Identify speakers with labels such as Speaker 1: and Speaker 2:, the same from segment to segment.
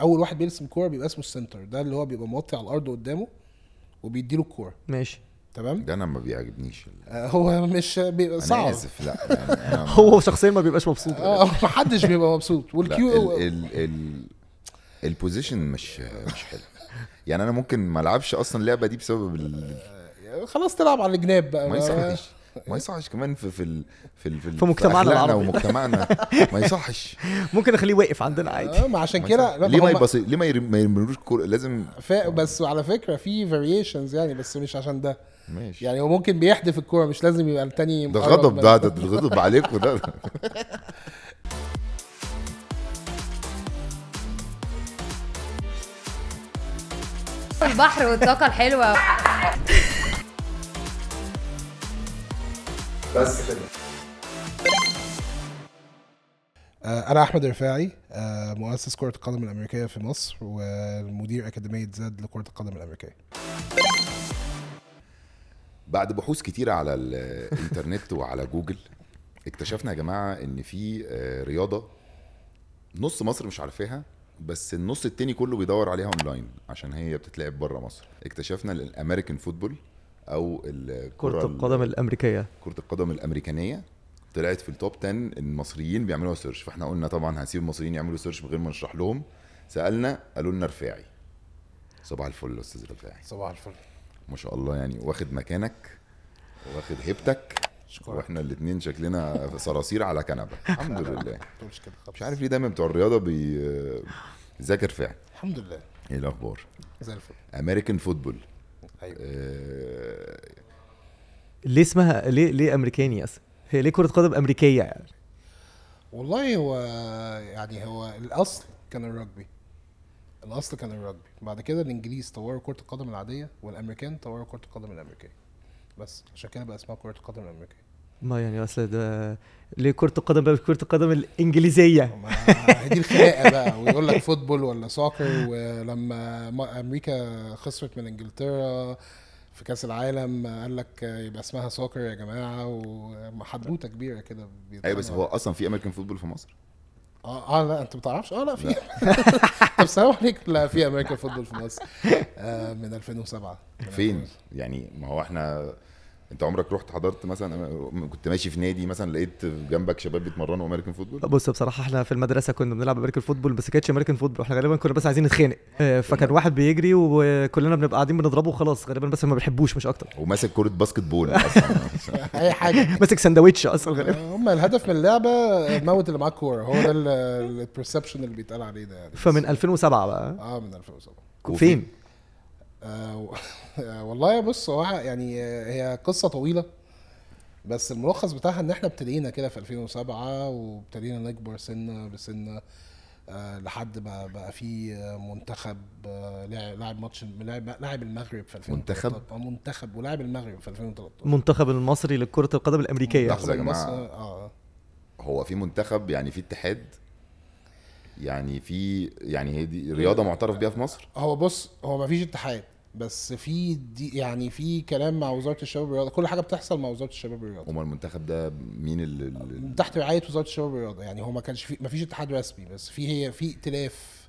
Speaker 1: اول واحد بيرسم كوره بيبقى اسمه السنتر ده اللي هو بيبقى موطي على الارض قدامه وبيديله الكوره
Speaker 2: ماشي
Speaker 1: تمام
Speaker 3: ده انا ما بيعجبنيش
Speaker 1: آه، هو مش بيبقى
Speaker 3: انا
Speaker 1: صعب
Speaker 3: اسف لا يعني أنا ما-
Speaker 2: هو شخصيا ما بيبقاش مبسوط
Speaker 1: اه محدش بيبقى مبسوط والكيو
Speaker 3: لا ال ال ال البوزيشن مش مش حلو يعني انا ممكن ما العبش اصلا اللعبه دي بسبب ال-
Speaker 1: خلاص تلعب على الجناب بقى
Speaker 3: ما يصحش ما يصحش كمان في في ال في ال
Speaker 2: في مجتمعنا
Speaker 3: أخلاقنا
Speaker 2: العربي.
Speaker 3: ومجتمعنا ما يصحش
Speaker 2: ممكن اخليه واقف عندنا عادي
Speaker 1: آه، ما عشان
Speaker 3: ما
Speaker 1: كده
Speaker 3: يصحش.
Speaker 1: لا،
Speaker 3: ليه ما
Speaker 1: هم-
Speaker 3: يبص ليه ما يرم- ما يرملوش كوره لازم
Speaker 1: ف... بس على فكره في فاريشنز يعني بس مش عشان ده
Speaker 3: ماشي
Speaker 1: يعني هو ممكن بيحدف الكوره مش لازم يبقى التاني
Speaker 3: ده
Speaker 1: مقرب
Speaker 3: غضب
Speaker 1: منه.
Speaker 3: ده ده الغضب عليكم ده
Speaker 4: البحر والطاقة الحلوة
Speaker 1: آه، انا احمد رفاعي آه، مؤسس كره القدم الامريكيه في مصر ومدير اكاديميه زاد لكره القدم الامريكيه
Speaker 3: بعد بحوث كتيرة على الانترنت وعلى جوجل اكتشفنا يا جماعة ان في آه، رياضة نص مصر مش عارفاها بس النص التاني كله بيدور عليها اونلاين عشان هي بتتلعب بره مصر اكتشفنا الامريكان فوتبول او ال-
Speaker 2: كرة
Speaker 3: الكرة-
Speaker 2: القدم الأمريكية
Speaker 3: كرة القدم الامريكانية طلعت في التوب 10 المصريين بيعملوها سيرش فاحنا قلنا طبعا هنسيب المصريين يعملوا سيرش من غير ما نشرح لهم سالنا قالوا لنا رفاعي صباح الفل يا استاذ رفاعي
Speaker 1: صباح الفل
Speaker 3: ما شاء الله يعني واخد مكانك واخد هيبتك
Speaker 1: شكرا
Speaker 3: واحنا الاثنين شكلنا صراصير على كنبه الحمد لله
Speaker 1: ما تقولش كده خالص
Speaker 3: مش عارف ليه دايما بتوع الرياضه بي ذاكر فعل
Speaker 1: الحمد لله
Speaker 3: ايه الاخبار
Speaker 1: زي الفل
Speaker 3: امريكان فوتبول أيوة.
Speaker 1: ايوه
Speaker 3: آه،
Speaker 2: ليه اسمها ليه ليه أمريكاني أصلا هي ليه كرة قدم أمريكية يعني
Speaker 1: والله هو يعني هو الاصل كان الرجبي الاصل كان الرجبي بعد كده الانجليز طوروا كره القدم العاديه والامريكان طوروا كره القدم الامريكيه بس عشان كده بقى اسمها كره القدم الامريكيه
Speaker 2: ما يعني أصل ده ليه كرة القدم بقى كرة القدم الإنجليزية
Speaker 1: ما هي دي الخناقه بقى ويقول لك فوتبول ولا سوكر ولما ما- امريكا خسرت من انجلترا في كاس العالم قال لك يبقى اسمها سوكر يا جماعه وحدوته كبيره كده
Speaker 3: ايوه بس هو
Speaker 1: بيتخانقوا.
Speaker 3: اصلا في امريكان فوتبول في مصر
Speaker 1: اه اه لا انت ما تعرفش اه لا في طب سلام عليكم لا في امريكا فوتبول في مصر آه من 2007 من
Speaker 3: فين
Speaker 1: 2007.
Speaker 3: يعني ما هو احنا انت عمرك رحت حضرت مثلا أم- كنت ماشي في نادي مثلا لقيت جنبك شباب بيتمرنوا امريكان فوتبول
Speaker 2: بص بصراحة احنا في المدرسة كنا بنلعب أمريكان فوتبول بس كانتش أمريكان فوتبول احنا غالبا كنا بس عايزين نتخانق آه، فكان واحد بيجري وكلنا بنبقى قاعدين بنضربه وخلاص غالبا بس ما بنحبوش مش أكتر
Speaker 3: وماسك كره باسكت بول اصلا
Speaker 1: اي حاجه
Speaker 2: ماسك سندوتش أصلا غالبا
Speaker 1: آه، هم الهدف من اللعبه موت اللي معاك كوره هو ده البرسبشن اللي بيتقال عليه ده يعني
Speaker 2: فمن 2007 بقى
Speaker 1: اه من 2007
Speaker 3: وفي-
Speaker 2: فين؟
Speaker 1: آه و- آه، والله بص هو يعني آه، هي قصه طويله بس الملخص بتاعها ان احنا ابتدينا كده في 2007 وابتدينا نكبر سنه بسنه آه لحد ما بقى في آه، منتخب آه، لع- لاعب ماتش لاعب لاعب المغرب في 2013
Speaker 3: منتخب؟
Speaker 1: اه منتخب ولاعب المغرب في 2013
Speaker 2: المنتخب المصري لكرة القدم الأمريكية
Speaker 3: لحظة يا جماعة.
Speaker 1: المصري- اه
Speaker 3: هو في منتخب يعني في اتحاد يعني في يعني هي دي رياضه معترف بيها في مصر
Speaker 1: هو بص هو مفيش اتحاد بس في دي يعني في كلام مع وزاره الشباب والرياضه كل حاجه بتحصل مع وزاره الشباب والرياضه
Speaker 3: امال المنتخب ده مين ال- ال-
Speaker 1: تحت رعايه وزاره الشباب والرياضه يعني هو ما كانش في ما فيش اتحاد رسمي بس في هي في ائتلاف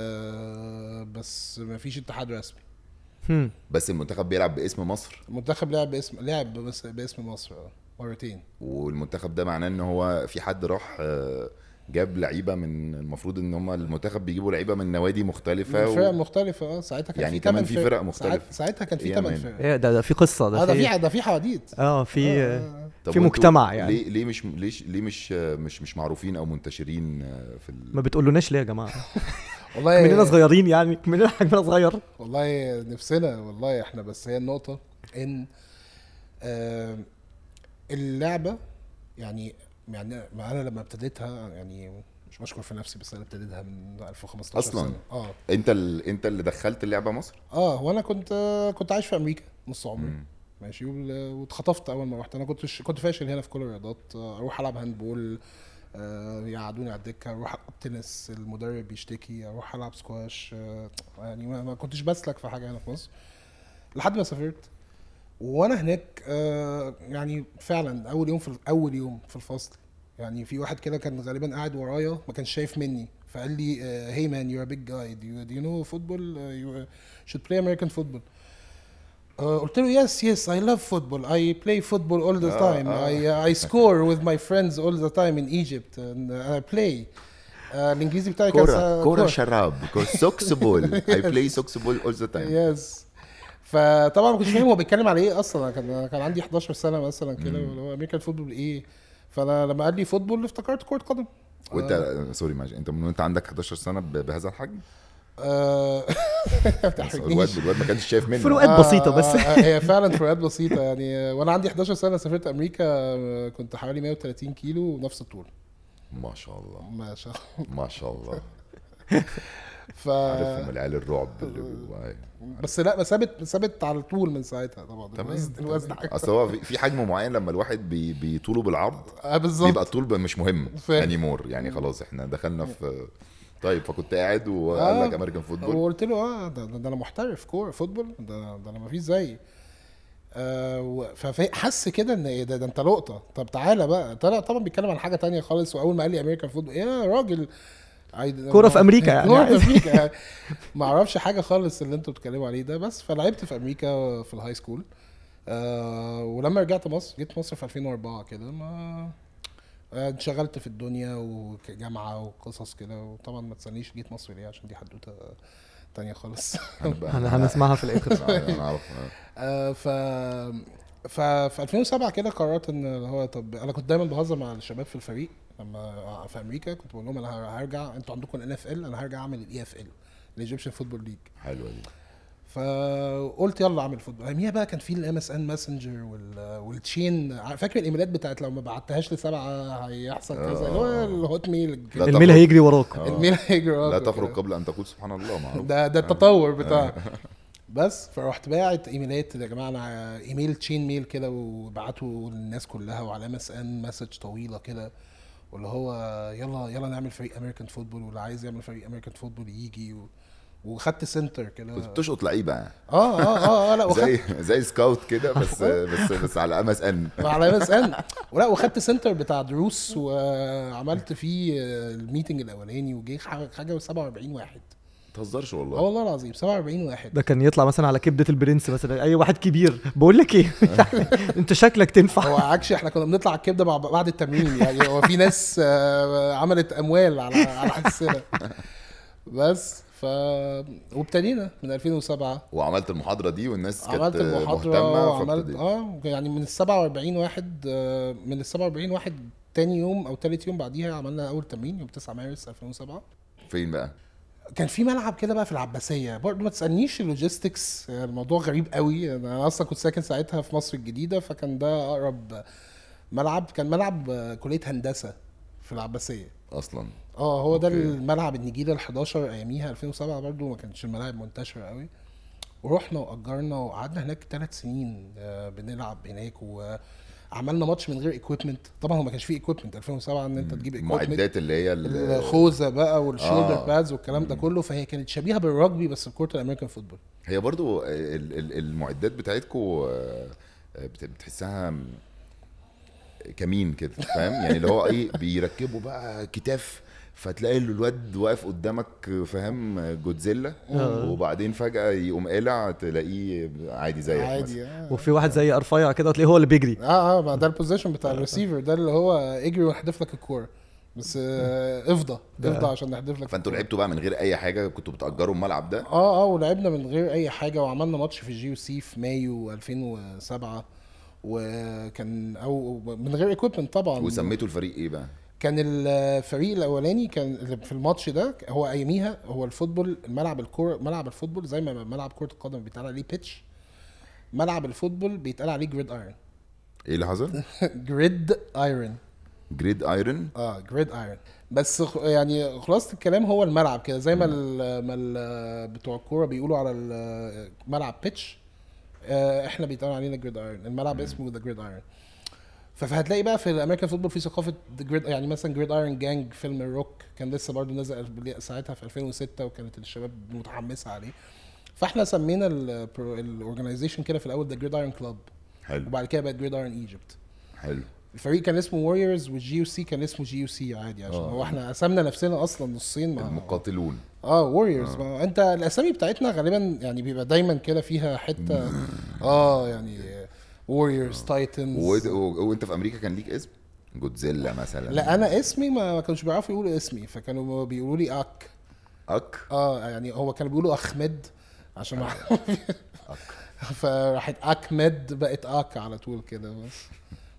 Speaker 1: آه بس ما فيش اتحاد رسمي
Speaker 2: هم.
Speaker 3: بس المنتخب بيلعب باسم مصر
Speaker 1: المنتخب لعب باسم لعب بس باسم مصر اه مرتين
Speaker 3: والمنتخب ده معناه ان هو في حد راح آه، جاب لعيبه من المفروض ان هم المنتخب بيجيبوا لعيبه من نوادي مختلفه
Speaker 1: من فرق مختلفة اه ساعتها كان
Speaker 3: يعني
Speaker 1: في تمن
Speaker 3: كمان في
Speaker 1: فرق.
Speaker 3: فرق مختلفة.
Speaker 1: ساعت- ساعتها كان في
Speaker 3: يا
Speaker 1: تمن
Speaker 3: مان.
Speaker 1: فرق
Speaker 2: ايه ده ده في قصة
Speaker 1: اه
Speaker 2: ده
Speaker 1: ده في
Speaker 2: في
Speaker 1: ده في حواديت
Speaker 2: اه في
Speaker 1: آه،
Speaker 2: آه،
Speaker 1: آه، آه.
Speaker 3: طب
Speaker 2: في
Speaker 3: وانتوا
Speaker 2: مجتمع يعني.
Speaker 3: ليه ليه مش ليش ليه مش آه، مش مش معروفين او منتشرين آه، في ال...
Speaker 2: ما بتقولوناش ليه يا جماعة
Speaker 1: والله
Speaker 2: مننا صغيرين يعني مننا حجمنا صغير
Speaker 1: والله نفسنا والله احنا بس هي النقطة ان آه، اللعبة يعني يعني ما انا لما ابتديتها يعني مش بشكر في نفسي بس انا ابتديتها من 2015
Speaker 3: أصلاً؟
Speaker 1: سنة. اه
Speaker 3: انت ال... انت اللي دخلت اللعبه مصر
Speaker 1: اه وانا كنت آه، كنت عايش في امريكا نص عمري ماشي وال- واتخطفت اول ما رحت انا كنت كنت فاشل هنا في كل الرياضات آه، اروح العب هاندبول آه، يقعدوني على الدكه اروح العب تنس المدرب يشتكي اروح العب سكواش آه، يعني ما ما كنتش بسلك في حاجه هنا في مصر لحد ما سافرت وانا هناك آه، يعني فعلا اول يوم في ال- اول يوم في الفصل يعني في واحد كده كان غالبا قاعد ورايا ما كانش شايف مني فقال لي هي مان يو ار بيج جاي دو يو نو فوتبول يو شود بلاي امريكان فوتبول Uh, قلت له يس يس اي لاف فوتبول اي بلاي فوتبول اول ذا
Speaker 3: آه،
Speaker 1: تايم
Speaker 3: آه.
Speaker 1: اي اي سكور وذ ماي فريندز اول ذا تايم ان ايجيبت اي بلاي الانجليزي Uh, بتاعي كان
Speaker 3: كوره
Speaker 1: سا-
Speaker 3: كوره شراب كورة- سوكس بول اي بلاي سوكس بول اول ذا تايم
Speaker 1: يس فطبعا ما كنتش فاهم هو بيتكلم على ايه اصلا أنا كان أنا كان عندي 11 سنه مثلا كده اللي هو امريكان فوتبول ايه فانا لما قال لي فوتبول افتكرت كره قدم
Speaker 3: وانت سوري معلش انت من وانت عندك 11 سنه ب- بهذا الحجم
Speaker 1: آه، ما
Speaker 3: الواد
Speaker 1: تحرجنيش.
Speaker 3: الواد ما كانش شايف منه
Speaker 2: فروقات بسيطه
Speaker 1: آه،
Speaker 2: بس
Speaker 1: آه، آه، هي فعلا فروقات بسيطه يعني آه، وانا عندي 11 سنه سافرت امريكا آه، كنت حوالي 130 كيلو ونفس الطول
Speaker 3: ما شاء الله
Speaker 1: ما شاء الله
Speaker 3: ما شاء الله
Speaker 1: ف
Speaker 3: عارفهم العيال الرعب اللي بيبقوا- أيوة.
Speaker 1: بس لا بس ثابت ثابت على طول من ساعتها طبعا
Speaker 3: تمام
Speaker 1: الوزن- الوزن
Speaker 3: تمام. اصل هو في- في حجم معين لما الواحد بي- بيطوله بالعرض
Speaker 1: آه، بالظبط
Speaker 3: بيبقى الطول بقى مش مهم
Speaker 1: فاهم.
Speaker 3: اني مور يعني خلاص احنا دخلنا في طيب فكنت قاعد وقال
Speaker 1: آه.
Speaker 3: لك امريكان فوتبول
Speaker 1: وقلت له اه ده, ده, ده انا محترف كوره فوتبول ده, ده انا مفيش زيي آه و- ففي- حس كده ان إيه ده, ده انت لقطه طب تعالى بقى طلع طبعا بيتكلم عن حاجه تانية خالص واول ما قال لي امريكان فوتبول يا راجل عايد-
Speaker 2: كورة في أمريكا يعني.
Speaker 1: كوره في امريكا يعني. ما اعرفش حاجه خالص اللي انتوا بتتكلموا عليه ده بس فلعبت في امريكا في الهاي سكول آه ولما رجعت مصر جيت مصر في 2004 كده ما آه، انشغلت في الدنيا وجامعه وقصص كده وطبعا ما تسالنيش جيت مصر ليه عشان دي حدوته تانية خالص
Speaker 3: هنبقى-
Speaker 2: هن- هنسمعها في الاخر
Speaker 3: أنا- أنا أعرف.
Speaker 1: آه، ف ف في 2007 كده قررت ان اللي هو طب انا كنت دايما بهزر مع الشباب في الفريق لما في امريكا كنت بقول لهم انا هر- هرجع انتوا عندكم ان اف ال انا هرجع اعمل الاي اف ال الايجيبشن فوتبول ليج
Speaker 3: حلوه دي
Speaker 1: فقلت يلا اعمل فوتبول اياميها بقى كان في الام اس ان ماسنجر والتشين فاكر الايميلات بتاعت لو ما بعتهاش لسبعه هيحصل كذا اللي هو الهوت ميل
Speaker 3: آه. لا
Speaker 2: الميل
Speaker 3: تخرج-
Speaker 2: هيجري وراك
Speaker 3: آه.
Speaker 1: الميل هيجري
Speaker 3: لا
Speaker 1: وراك
Speaker 3: تخرج
Speaker 1: وكده.
Speaker 3: قبل ان تقول سبحان الله معروف
Speaker 1: ده ده التطور
Speaker 3: آه.
Speaker 1: بتاع بس فرحت باعت ايميلات يا جماعه انا ايميل تشين ميل كده وبعته للناس كلها وعلى ام اس ان مسج طويله كده واللي هو يلا يلا نعمل فريق امريكان فوتبول واللي عايز يعمل فريق امريكان فوتبول يجي و... وخدت سنتر كده
Speaker 3: كنت بتشقط لعيبه يعني.
Speaker 1: اه اه اه, آه لا وخدت
Speaker 3: زي زي سكاوت كده بس بس بس على ام اس ان
Speaker 1: على ام اس ان ولا وخدت سنتر بتاع دروس وعملت فيه الميتنج الاولاني وجه حاجه و47 واحد
Speaker 3: ما تهزرش
Speaker 1: اه
Speaker 3: والله
Speaker 1: والله العظيم 47 واحد
Speaker 2: ده كان يطلع مثلا على كبده البرنس مثلا اي واحد كبير بقول لك ايه انت شكلك
Speaker 1: آه. هو
Speaker 2: تنفع
Speaker 1: عكش احنا كنا بنطلع على الكبده مع بعد التمرين يعني هو في ناس آه، عملت اموال على على حسنا بس ف وابتدينا من 2007
Speaker 3: وعملت المحاضره دي والناس كانت
Speaker 1: عملت المحاضره
Speaker 3: مهتمه
Speaker 1: وعملت
Speaker 3: فابتديت.
Speaker 1: اه يعني من ال 47 واحد آه، من ال 47 واحد تاني يوم او تالت يوم بعديها عملنا اول تمرين يوم 9 مارس 2007
Speaker 3: فين بقى؟
Speaker 1: كان في ملعب كده بقى في العباسيه برضه ما تسالنيش اللوجيستكس يعني الموضوع غريب قوي انا اصلا كنت ساكن ساعتها في مصر الجديده فكان ده اقرب ملعب كان ملعب كليه هندسه في العباسيه
Speaker 3: اصلا
Speaker 1: اه هو ده
Speaker 3: أوكي.
Speaker 1: الملعب النجيله ال 11 اياميها 2007 برضه ما كانتش الملاعب منتشره قوي ورحنا واجرنا وقعدنا هناك ثلاث سنين آه، بنلعب هناك وعملنا ماتش من غير ايكويبمنت طبعا هو ما كانش فيه ايكويبمنت 2007 ان انت تجيب ايكويبمنت
Speaker 3: المعدات اللي هي ال-
Speaker 1: الخوذه بقى والشولدر
Speaker 3: آه.
Speaker 1: آه. بادز والكلام ده كله فهي كانت شبيهه بالرجبي بس بكره الامريكان فوتبول
Speaker 3: هي برضو ال- ال- المعدات بتاعتكو آه، بت- بتحسها م- كمين كده فاهم يعني اللي هو ايه بيركبوا بقى كتاف فتلاقي الواد واقف قدامك فاهم جودزيلا
Speaker 1: آه.
Speaker 3: وبعدين فجأة يقوم قالع تلاقيه عادي زيك مثلا.
Speaker 1: عادي اه
Speaker 2: وفي واحد زي رفيع كده تلاقيه هو اللي بيجري
Speaker 1: اه, آه ما ده البوزيشن بتاع الريسيفر ده اللي هو اجري ونحدف لك الكوره بس آه افضى افضى عشان نحدف لك
Speaker 3: فانتوا
Speaker 1: الكورة.
Speaker 3: لعبتوا بقى من غير اي حاجة كنتوا بتأجروا الملعب ده
Speaker 1: اه اه ولعبنا من غير اي حاجه وعملنا ماتش في الجي سي في مايو 2007 وكان او من غير ايكويبمنت طبعا
Speaker 3: وسميتوا الفريق ايه بقى؟
Speaker 1: كان الفريق الاولاني كان في الماتش ده هو اياميها هو الفوتبول ملعب الكوره ملعب الفوتبول زي ما ملعب كره القدم بيتقال عليه بيتش ملعب الفوتبول بيتقال عليه جريد ايرون
Speaker 3: ايه اللي حصل؟
Speaker 1: جريد ايرون
Speaker 3: جريد ايرون
Speaker 1: اه جريد ايرون بس خ- يعني خلاصه الكلام هو الملعب كده زي ما ال ما ال بتوع الكوره بيقولوا على الملعب بيتش آه، احنا بيتقال علينا جريد ايرون الملعب اسمه ذا جريد ايرون فهتلاقي بقى في الامريكان فوتبول في ثقافه The Grid- يعني مثلا جريد ايرون جانج فيلم الروك كان لسه برضه نزل ساعتها في 2006 وكانت الشباب متحمسه عليه فاحنا سمينا الاورجنايزيشن كده في الاول ذا جريد ايرون كلاب
Speaker 3: حلو
Speaker 1: وبعد كده بقت جريد ايرون ايجيبت
Speaker 3: حلو
Speaker 1: الفريق كان اسمه ووريرز والجي يو سي كان اسمه جي يو سي عادي عشان
Speaker 3: آه.
Speaker 1: هو احنا قسمنا نفسنا اصلا نصين مع
Speaker 3: المقاتلون
Speaker 1: اه ووريرز
Speaker 3: آه.
Speaker 1: ما انت الاسامي بتاعتنا غالبا يعني بيبقى دايما كده فيها حته اه يعني ووريرز
Speaker 3: آه.
Speaker 1: تايتنز
Speaker 3: وإد- و- وانت في امريكا كان ليك اسم جودزيلا مثلا
Speaker 1: لا انا اسمي ما ما كانوش بيعرفوا يقولوا اسمي فكانوا بيقولوا لي اك
Speaker 3: اك
Speaker 1: اه يعني هو كانوا بيقولوا احمد عشان ما فراحت اكمد بقت اك على طول كده بس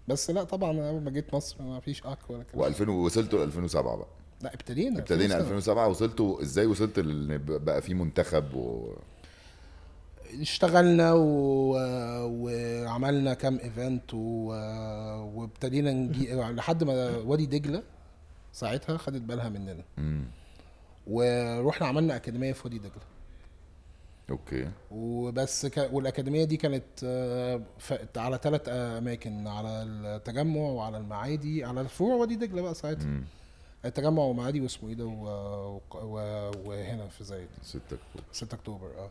Speaker 1: بس لا طبعا انا اول ما جيت مصر ما فيش اك ولا كده
Speaker 3: و2000 وصلتوا ل 2007 بقى
Speaker 1: لا ابتدينا
Speaker 3: ابتدينا
Speaker 1: 2007.
Speaker 3: 2007 وصلتوا ازاي وصلت ل- بقى في منتخب و...
Speaker 1: اشتغلنا و... وعملنا كام ايفنت و... وابتدينا نجي... لحد ما وادي دجله ساعتها خدت بالها مننا
Speaker 3: مم.
Speaker 1: ورحنا عملنا اكاديميه في وادي دجله
Speaker 3: اوكي
Speaker 1: وبس ك... والاكاديميه دي كانت آه، ف... على ثلاث اماكن على التجمع وعلى المعادي على الفروع وادي دجله بقى ساعتها
Speaker 3: مم.
Speaker 1: التجمع ومعادي واسمه ايه ده و... و... وهنا في زايد
Speaker 3: 6 اكتوبر
Speaker 1: 6 اكتوبر اه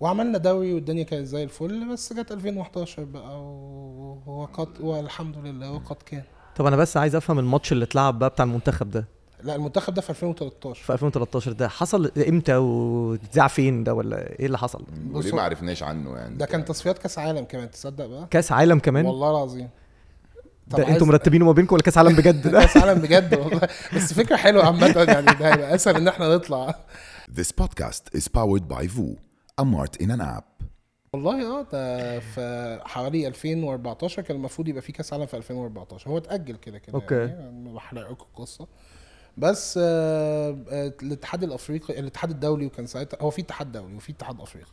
Speaker 1: وعملنا دوري والدنيا كانت زي الفل بس جت 2011 بقى و- وقد والحمد لله وقد كان
Speaker 2: طب انا بس عايز افهم الماتش اللي اتلعب بقى بتاع المنتخب ده
Speaker 1: لا المنتخب ده في 2013
Speaker 2: في 2013 ده حصل امتى واتذاع فين ده ولا ايه اللي حصل
Speaker 1: بص-
Speaker 3: وليه ما عرفناش عنه يعني
Speaker 1: ده كان تصفيات كاس عالم كمان تصدق بقى
Speaker 2: كاس عالم كمان
Speaker 1: والله العظيم طب
Speaker 2: ده
Speaker 1: عايز-
Speaker 2: انتوا مرتبينه ما بينكم ولا كاس عالم بجد ده
Speaker 1: كاس عالم بجد والله بس فكره حلوه عامه يعني ده هيبقى اسهل ان احنا نطلع
Speaker 3: This podcast is powered by VU, a mart in an app.
Speaker 1: والله اه ده في حوالي 2014 كان المفروض يبقى في كاس عالم في 2014 هو اتاجل كده كده
Speaker 2: أوكي.
Speaker 1: يعني يعني ما بحرقكم القصه بس آه، آه، الاتحاد الافريقي الاتحاد الدولي وكان ساعتها هو في اتحاد دولي وفي اتحاد افريقي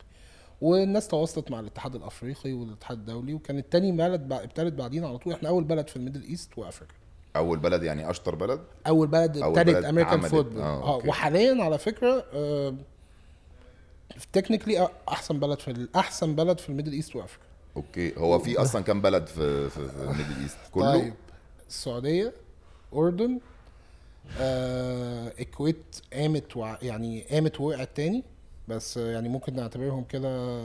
Speaker 1: والناس تواصلت مع الاتحاد الافريقي والاتحاد الدولي وكان التاني بلد بع- ابتدت بعدين على طول احنا اول بلد في الميدل ايست وافريقيا
Speaker 3: اول بلد يعني اشطر بلد
Speaker 1: اول بلد
Speaker 3: أول
Speaker 1: ابتدت
Speaker 3: بلد
Speaker 1: امريكان
Speaker 3: اتعملت.
Speaker 1: فوتبول
Speaker 3: آه،
Speaker 1: اه
Speaker 3: أوكي.
Speaker 1: وحاليا على آه، فكره تكنيكلي احسن بلد في ال- احسن بلد في الميدل ايست وافريقيا
Speaker 3: اوكي هو في اصلا كام بلد في في, في الميدل ايست كله
Speaker 1: طيب السعوديه اردن آه، الكويت قامت وع... يعني قامت ووقعت تاني بس آه، يعني ممكن نعتبرهم كده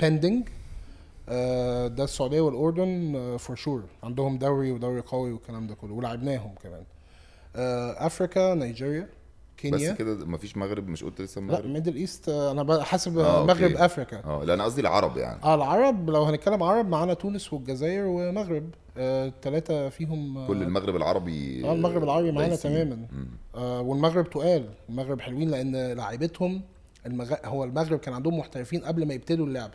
Speaker 1: بيندنج آه، ده السعوديه والاردن فور شور عندهم دوري ودوري قوي والكلام ده كله ولعبناهم كمان آه، افريكا نيجيريا كينيا
Speaker 3: بس كده مفيش مغرب مش قلت لسه
Speaker 1: لا
Speaker 3: المغرب
Speaker 1: ميدل ايست آه، انا بقى حاسب
Speaker 3: آه،
Speaker 1: آه،
Speaker 3: أوكي.
Speaker 1: مغرب افريكا
Speaker 3: اه لا انا قصدي العرب يعني
Speaker 1: اه العرب لو هنتكلم عرب معانا تونس والجزائر ومغرب آه، التلاتة فيهم آه،
Speaker 3: كل المغرب العربي
Speaker 1: اه المغرب العربي معانا
Speaker 3: دايسين.
Speaker 1: تماما
Speaker 3: مم.
Speaker 1: آه والمغرب تقال المغرب حلوين لان لاعيبتهم المغ... هو المغرب كان عندهم محترفين قبل ما يبتدوا اللعبه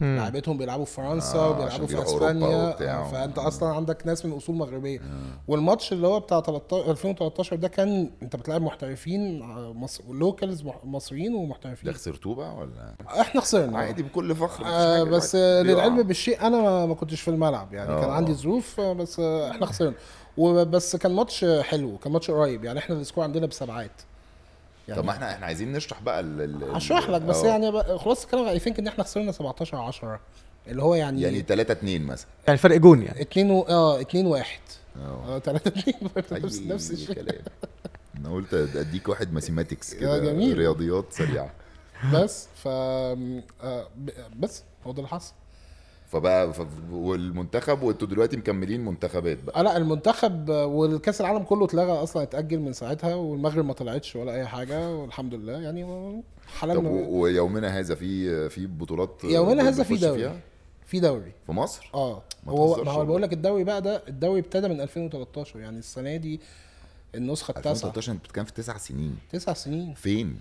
Speaker 1: لاعيبتهم بيلعبوا في فرنسا
Speaker 3: آه،
Speaker 1: وبيلعبوا
Speaker 3: عشان
Speaker 1: في
Speaker 3: بيروحوا أوروبا
Speaker 1: اسبانيا
Speaker 3: وبتاع. آه.
Speaker 1: آه، فانت اصلا عندك ناس من اصول مغربيه والماتش اللي هو بتاع 13 2013 ده كان انت بتلعب محترفين آه، مص... لوكالز مح- مصريين
Speaker 3: ده
Speaker 1: ومحترفين
Speaker 3: خسرتوه بقى ولا
Speaker 1: احنا خسرنا
Speaker 3: عادي بكل فخر مفيش
Speaker 1: آه
Speaker 3: حاجة
Speaker 1: بس
Speaker 3: عادي.
Speaker 1: آه، للعلم
Speaker 3: بيقع.
Speaker 1: بالشيء انا ما- ما كنتش في الملعب يعني كان
Speaker 3: آه.
Speaker 1: عندي ظروف آه، بس آه، احنا خسرنا وبس كان ماتش آه، حلو كان ماتش قريب يعني احنا السكور عندنا بسبعات يعني
Speaker 3: طب ما احنا احنا عايزين نشرح بقى ال- ال- ال-
Speaker 1: هشرح لك بس
Speaker 3: آه.
Speaker 1: يعني بقى- خلاص الكلام اي ثينك ان احنا خسرنا 17 10 اللي هو يعني
Speaker 3: يعني 3 2 مثلا
Speaker 2: يعني فرق جون يعني
Speaker 1: اتنين و... اه 2 1
Speaker 3: اه
Speaker 1: اه 3 2 نفس
Speaker 3: أي
Speaker 1: نفس الشيء
Speaker 3: كلام انا قلت اديك واحد ماثيماتكس كده
Speaker 1: جميل.
Speaker 3: رياضيات سريعه
Speaker 1: بس ف آه، ب- بس هو ده اللي حصل
Speaker 3: فبقى ف... والمنتخب وانتوا دلوقتي مكملين منتخبات بقى
Speaker 1: اه لا المنتخب والكاس العالم كله اتلغى اصلا اتاجل من ساعتها والمغرب ما طلعتش ولا اي حاجه والحمد لله يعني
Speaker 3: طب
Speaker 1: حلال
Speaker 3: و... ويومنا هذا في في بطولات
Speaker 1: يومنا هذا في
Speaker 3: بنخش
Speaker 1: دوري
Speaker 3: فيها؟
Speaker 1: في دوري
Speaker 3: في مصر
Speaker 1: اه
Speaker 3: ما
Speaker 1: هو
Speaker 3: تهزرش
Speaker 1: ما هو
Speaker 3: والله.
Speaker 1: بقول لك الدوري بقى ده الدوري ابتدى من 2013 يعني السنه دي النسخه التاسعه
Speaker 3: 2013 انت بتتكلم في تسع سنين
Speaker 1: تسع سنين
Speaker 3: فين؟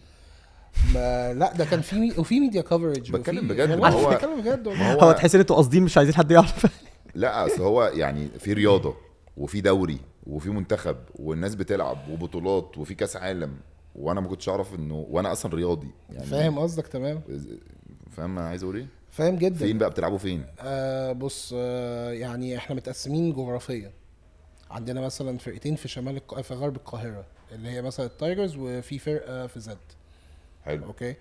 Speaker 1: ما لا ده كان في مي... وفي ميديا كفرج
Speaker 3: بتكلم بجد، ما
Speaker 1: هو
Speaker 3: هو-
Speaker 1: يعني بتكلم بجد والله.
Speaker 3: ما
Speaker 2: هو تحس ان انتوا قاصدين مش عايزين حد يعرف
Speaker 3: لا اصل هو يعني في رياضه وفي دوري وفي منتخب والناس بتلعب وبطولات وفي كاس عالم وانا ما كنتش اعرف انه وانا اصلا رياضي يعني
Speaker 1: فاهم قصدك تمام
Speaker 3: فاهم انا عايز اقول ايه؟
Speaker 1: فاهم جدا
Speaker 3: فين بقى بتلعبوا فين؟
Speaker 1: آه بص آه يعني احنا متقسمين جغرافيا عندنا مثلا فرقتين في شمال الق... في غرب القاهره اللي هي مثلا التايجرز وفي فرقه في زد
Speaker 3: حلو
Speaker 1: اوكي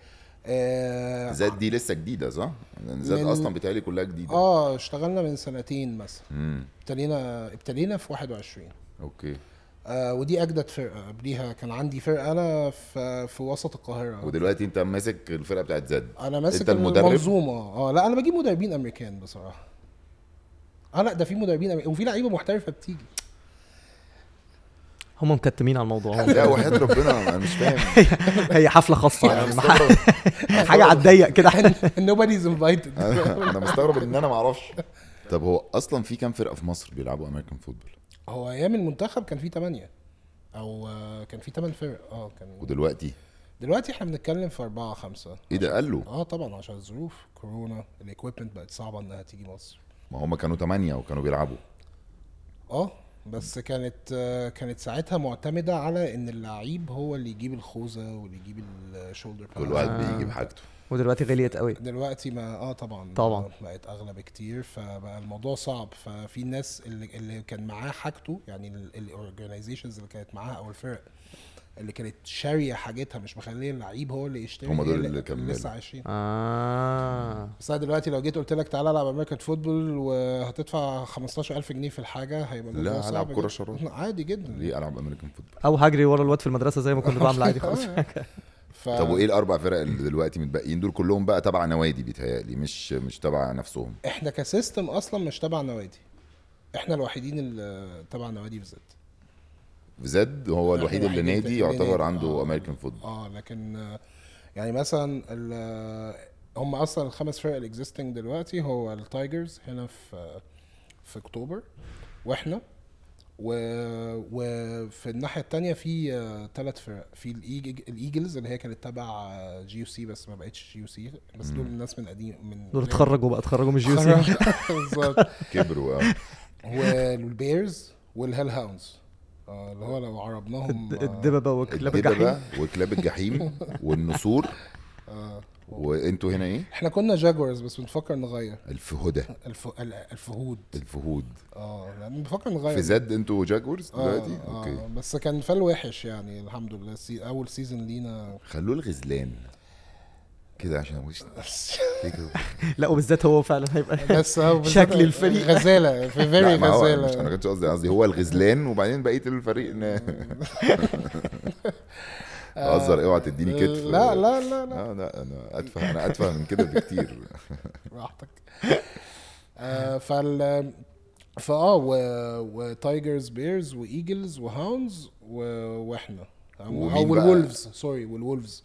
Speaker 1: آه,
Speaker 3: زاد دي لسه جديده صح؟ لأن زاد
Speaker 1: من-
Speaker 3: اصلا بتهيألي كلها جديده
Speaker 1: اه اشتغلنا من سنتين مثلا
Speaker 3: امم
Speaker 1: ابتدينا ابتدينا في 21
Speaker 3: اوكي
Speaker 1: آه ودي اجدد فرقه قبليها كان عندي فرقه انا في, في وسط القاهره
Speaker 3: ودلوقتي انت ماسك الفرقه بتاعت زد
Speaker 1: انا ماسك آه،
Speaker 3: أنت المدرب؟
Speaker 1: المنظومه اه لا انا بجيب مدربين امريكان بصراحه اه لا ده في مدربين أمريكا- وفي لعيبه محترفه بتيجي
Speaker 2: هم مكتمين على الموضوع هم.
Speaker 3: لا وحياة ربنا انا مش فاهم
Speaker 2: هي حفله خاصه
Speaker 3: انا
Speaker 2: يعني ما ح-
Speaker 3: مستغرب
Speaker 2: حاجه على الضيق كده
Speaker 1: nobody's invited
Speaker 3: انا أنا مستغرب ان انا ما اعرفش طب هو اصلا في كام فرقه في مصر بيلعبوا امريكان فوتبول
Speaker 1: هو ايام المنتخب كان في 8 او آه، كان في 8 فرق اه كان
Speaker 3: ودلوقتي
Speaker 1: دلوقتي احنا بنتكلم في 4 5
Speaker 3: ايه ده قال له
Speaker 1: اه طبعا عشان الظروف كورونا الايكويبمنت بقت صعبه انها تيجي مصر
Speaker 3: ما هم كانوا ثمانية وكانوا بيلعبوا
Speaker 1: اه بس كانت آه، كانت ساعتها معتمده على ان اللعيب هو اللي يجيب الخوذه واللي يجيب الشولدر
Speaker 3: كل واحد
Speaker 1: آه.
Speaker 3: بيجيب حاجته
Speaker 2: ودلوقتي غليت قوي
Speaker 1: دلوقتي ما اه طبعا
Speaker 2: طبعاً.
Speaker 1: بقت اغلى بكتير فبقى الموضوع صعب ففي ناس اللي, اللي كان معاه حاجته يعني الاورجنايزيشنز اللي كانت معاها او الفرق اللي كانت شاريه حاجتها مش مخليه اللعيب هو اللي يشتري
Speaker 3: هم
Speaker 1: هي
Speaker 3: دول اللي كملوا.
Speaker 1: لسه عايشين
Speaker 2: اه
Speaker 1: بس انا دلوقتي لو جيت قلت لك تعالى العب امريكان فوتبول وهتدفع 15000 جنيه في الحاجه هيبقى الموضوع
Speaker 3: لا،
Speaker 1: صعب
Speaker 3: هلعب كرة
Speaker 1: جداً.
Speaker 3: شراب.
Speaker 1: عادي جدا
Speaker 3: ليه العب امريكان فوتبول
Speaker 2: او هجري ورا الواد في المدرسه زي ما كنت بعمل عادي خالص
Speaker 1: آه. ف...
Speaker 3: طب وايه الاربع فرق اللي دلوقتي متبقيين دول كلهم بقى تبع نوادي بيتهيألي مش مش تبع نفسهم
Speaker 1: احنا كسيستم اصلا مش تبع نوادي احنا الوحيدين اللي تبع نوادي بالذات
Speaker 3: زد هو الوحيد اللي
Speaker 1: الوحيد
Speaker 3: نادي
Speaker 1: اللي
Speaker 3: يعتبر
Speaker 1: نادي.
Speaker 3: عنده
Speaker 1: آه.
Speaker 3: امريكان فوتبول
Speaker 1: اه لكن آه، يعني مثلا ال- آه، هم اصلا الخمس فرق الاكزيستنج دلوقتي هو التايجرز هنا في آه، في اكتوبر واحنا و... وفي الناحيه التانية في ثلاث فرق في الإيج- الايجلز اللي هي كانت تبع آه، جي يو سي بس ما بقتش جي يو سي بس دول الناس من قديم من
Speaker 2: دول
Speaker 1: من-
Speaker 2: اتخرجوا بقى اتخرجوا من الجي سي
Speaker 1: خرج- بالظبط
Speaker 3: كبروا اه
Speaker 1: والبيرز والهيل هاوندز آه، اللي هو لو عربناهم آه،
Speaker 2: الدببه وكلاب الجحيم
Speaker 3: الدببة وكلاب الجحيم والنسور
Speaker 1: آه.
Speaker 3: وانتوا هنا ايه؟
Speaker 1: احنا كنا جاكورز بس بنفكر نغير
Speaker 3: الفهدة
Speaker 1: الف... ال- الفهود
Speaker 3: الفهود
Speaker 1: اه لان بنفكر نغير
Speaker 3: في زد انتوا جاكورز
Speaker 1: آه،
Speaker 3: دلوقتي؟
Speaker 1: آه،
Speaker 3: اوكي
Speaker 1: بس كان فال وحش يعني الحمد لله سي... اول سيزون لينا
Speaker 3: خلوه الغزلان كده عشان وش
Speaker 2: لا وبالذات هو فعلا هيبقى
Speaker 1: بس هو بالذات
Speaker 2: شكل الفريق.
Speaker 1: غزاله في فيري
Speaker 3: لا، ما هو أنا مش انا
Speaker 1: غزاله
Speaker 3: كنتش قصدي قصدي هو الغزلان وبعدين بقيه الفريق ن- بهزر اوعى تديني كتف
Speaker 1: آه، لا لا لا لا
Speaker 3: لا لا انا اتفه انا اتفه من كده بكتير
Speaker 1: براحتك آه، فال فاه و... وتايجرز بيرز وايجلز وهاونز و... واحنا
Speaker 3: ومين
Speaker 1: او
Speaker 3: بقى؟
Speaker 1: والولفز سوري والولفز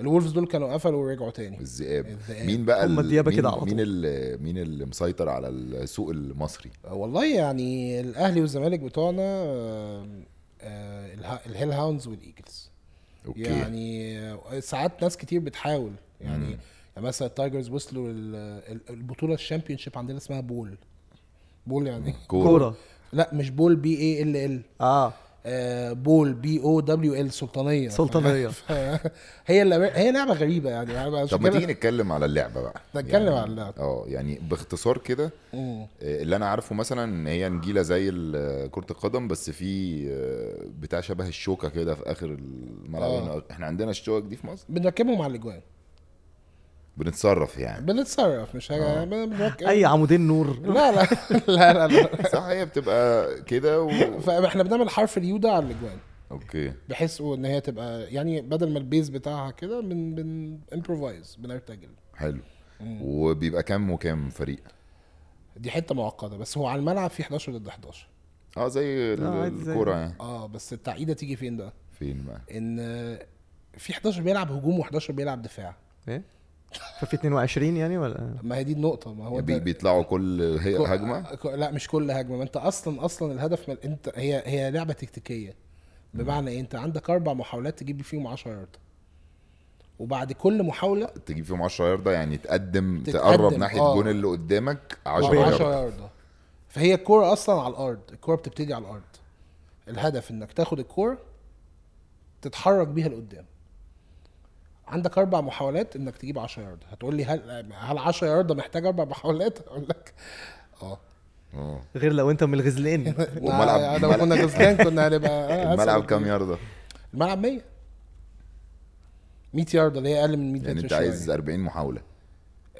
Speaker 1: الولفز دول كانوا قفلوا ورجعوا تاني
Speaker 3: الذئاب
Speaker 1: الذئاب.
Speaker 3: مين بقى
Speaker 2: هم
Speaker 3: ال-
Speaker 2: الديابة
Speaker 3: مين-
Speaker 2: كده على
Speaker 3: مين
Speaker 2: طول.
Speaker 3: ال- مين اللي مسيطر على السوق المصري
Speaker 1: والله يعني الاهلي والزمالك بتوعنا آه، آه، الها- الهيل هاوندز والايجلز
Speaker 3: اوكي
Speaker 1: يعني آه، ساعات ناس كتير بتحاول يعني يعني مثلا التايجرز وصلوا ال- ال- البطوله الشامبيونشيب عندنا اسمها بول بول يعني
Speaker 2: كوره
Speaker 1: لا مش بول بي اي ال ال
Speaker 2: اه
Speaker 1: آه، بول بي او دبليو ال سلطانيه
Speaker 2: سلطانية.
Speaker 1: ف- هي اللعبة- هي لعبه غريبه يعني يعني عشان
Speaker 3: طب ما
Speaker 1: كده
Speaker 3: تيجي نتكلم على اللعبه بقى
Speaker 1: نتكلم
Speaker 3: يعني-
Speaker 1: على اللعبة.
Speaker 3: اه يعني باختصار كده
Speaker 1: مم.
Speaker 3: آه، اللي انا عارفه مثلا ان هي نجيله زي ال- كره القدم بس في آه، بتاع شبه الشوكه كده في اخر الملعب
Speaker 1: آه.
Speaker 3: هنا. احنا عندنا الشوك دي في مصر
Speaker 1: بنركبهم على الاجوان
Speaker 3: بنتصرف يعني
Speaker 1: بنتصرف مش
Speaker 3: آه.
Speaker 1: حاجه بنركب
Speaker 3: أيوة.
Speaker 2: اي عمودين نور
Speaker 1: لا لا لا لا, لا.
Speaker 3: صح هي بتبقى كده و...
Speaker 1: فاحنا بنعمل حرف اليو ده على الاجوان
Speaker 3: اوكي
Speaker 1: بحيث ان هي تبقى يعني بدل ما البيز بتاعها كده بن بن امبروفايز بنرتجل
Speaker 3: حلو وبيبقى كام وكام فريق
Speaker 1: دي حته معقده بس هو على الملعب في 11 ضد 11
Speaker 3: اه زي ال-
Speaker 2: آه، عادي زي-
Speaker 3: الكوره يعني
Speaker 1: اه بس التعقيده تيجي فين بقى؟
Speaker 3: فين بقى
Speaker 1: ان في 11 بيلعب هجوم و11 بيلعب دفاع
Speaker 2: ايه ففي 22 يعني ولا
Speaker 1: ما هي دي النقطه ما هو
Speaker 3: يعني بي-
Speaker 1: ده-
Speaker 3: بيطلعوا كل هي-
Speaker 1: كو- آه،
Speaker 3: هجمه
Speaker 1: كو- لا مش كل هجمه ما انت اصلا اصلا الهدف من انت هي هي لعبه تكتيكيه بمعنى ايه انت عندك اربع محاولات تجيب فيهم 10 يارده وبعد كل محاوله
Speaker 3: تجيب فيهم 10 ياردة يعني تقدم
Speaker 1: تتقدم،
Speaker 3: تقرب ناحيه
Speaker 1: آه.
Speaker 3: الجون اللي قدامك 10
Speaker 1: 10
Speaker 3: ياردة
Speaker 1: ياردة فهي الكوره اصلا على الارض الكوره بتبتدي على الارض الهدف انك تاخد الكوره تتحرك بيها لقدام عندك اربع محاولات انك تجيب 10 ياردة هتقول لي هل هل 10 ياردة محتاج اربع محاولات اقول لك اه
Speaker 3: آه.
Speaker 2: غير لو انت من الغزلان
Speaker 3: والملعب-
Speaker 1: آه، لو كنا كسبان كنا هنبقى آه، أسهل
Speaker 3: الملعب كام
Speaker 1: بكتير.
Speaker 3: ياردة؟
Speaker 1: الملعب 100 100 ياردة اللي هي اقل من 100
Speaker 3: يعني
Speaker 1: متر
Speaker 3: انت
Speaker 1: شوية.
Speaker 3: عايز 40 محاولة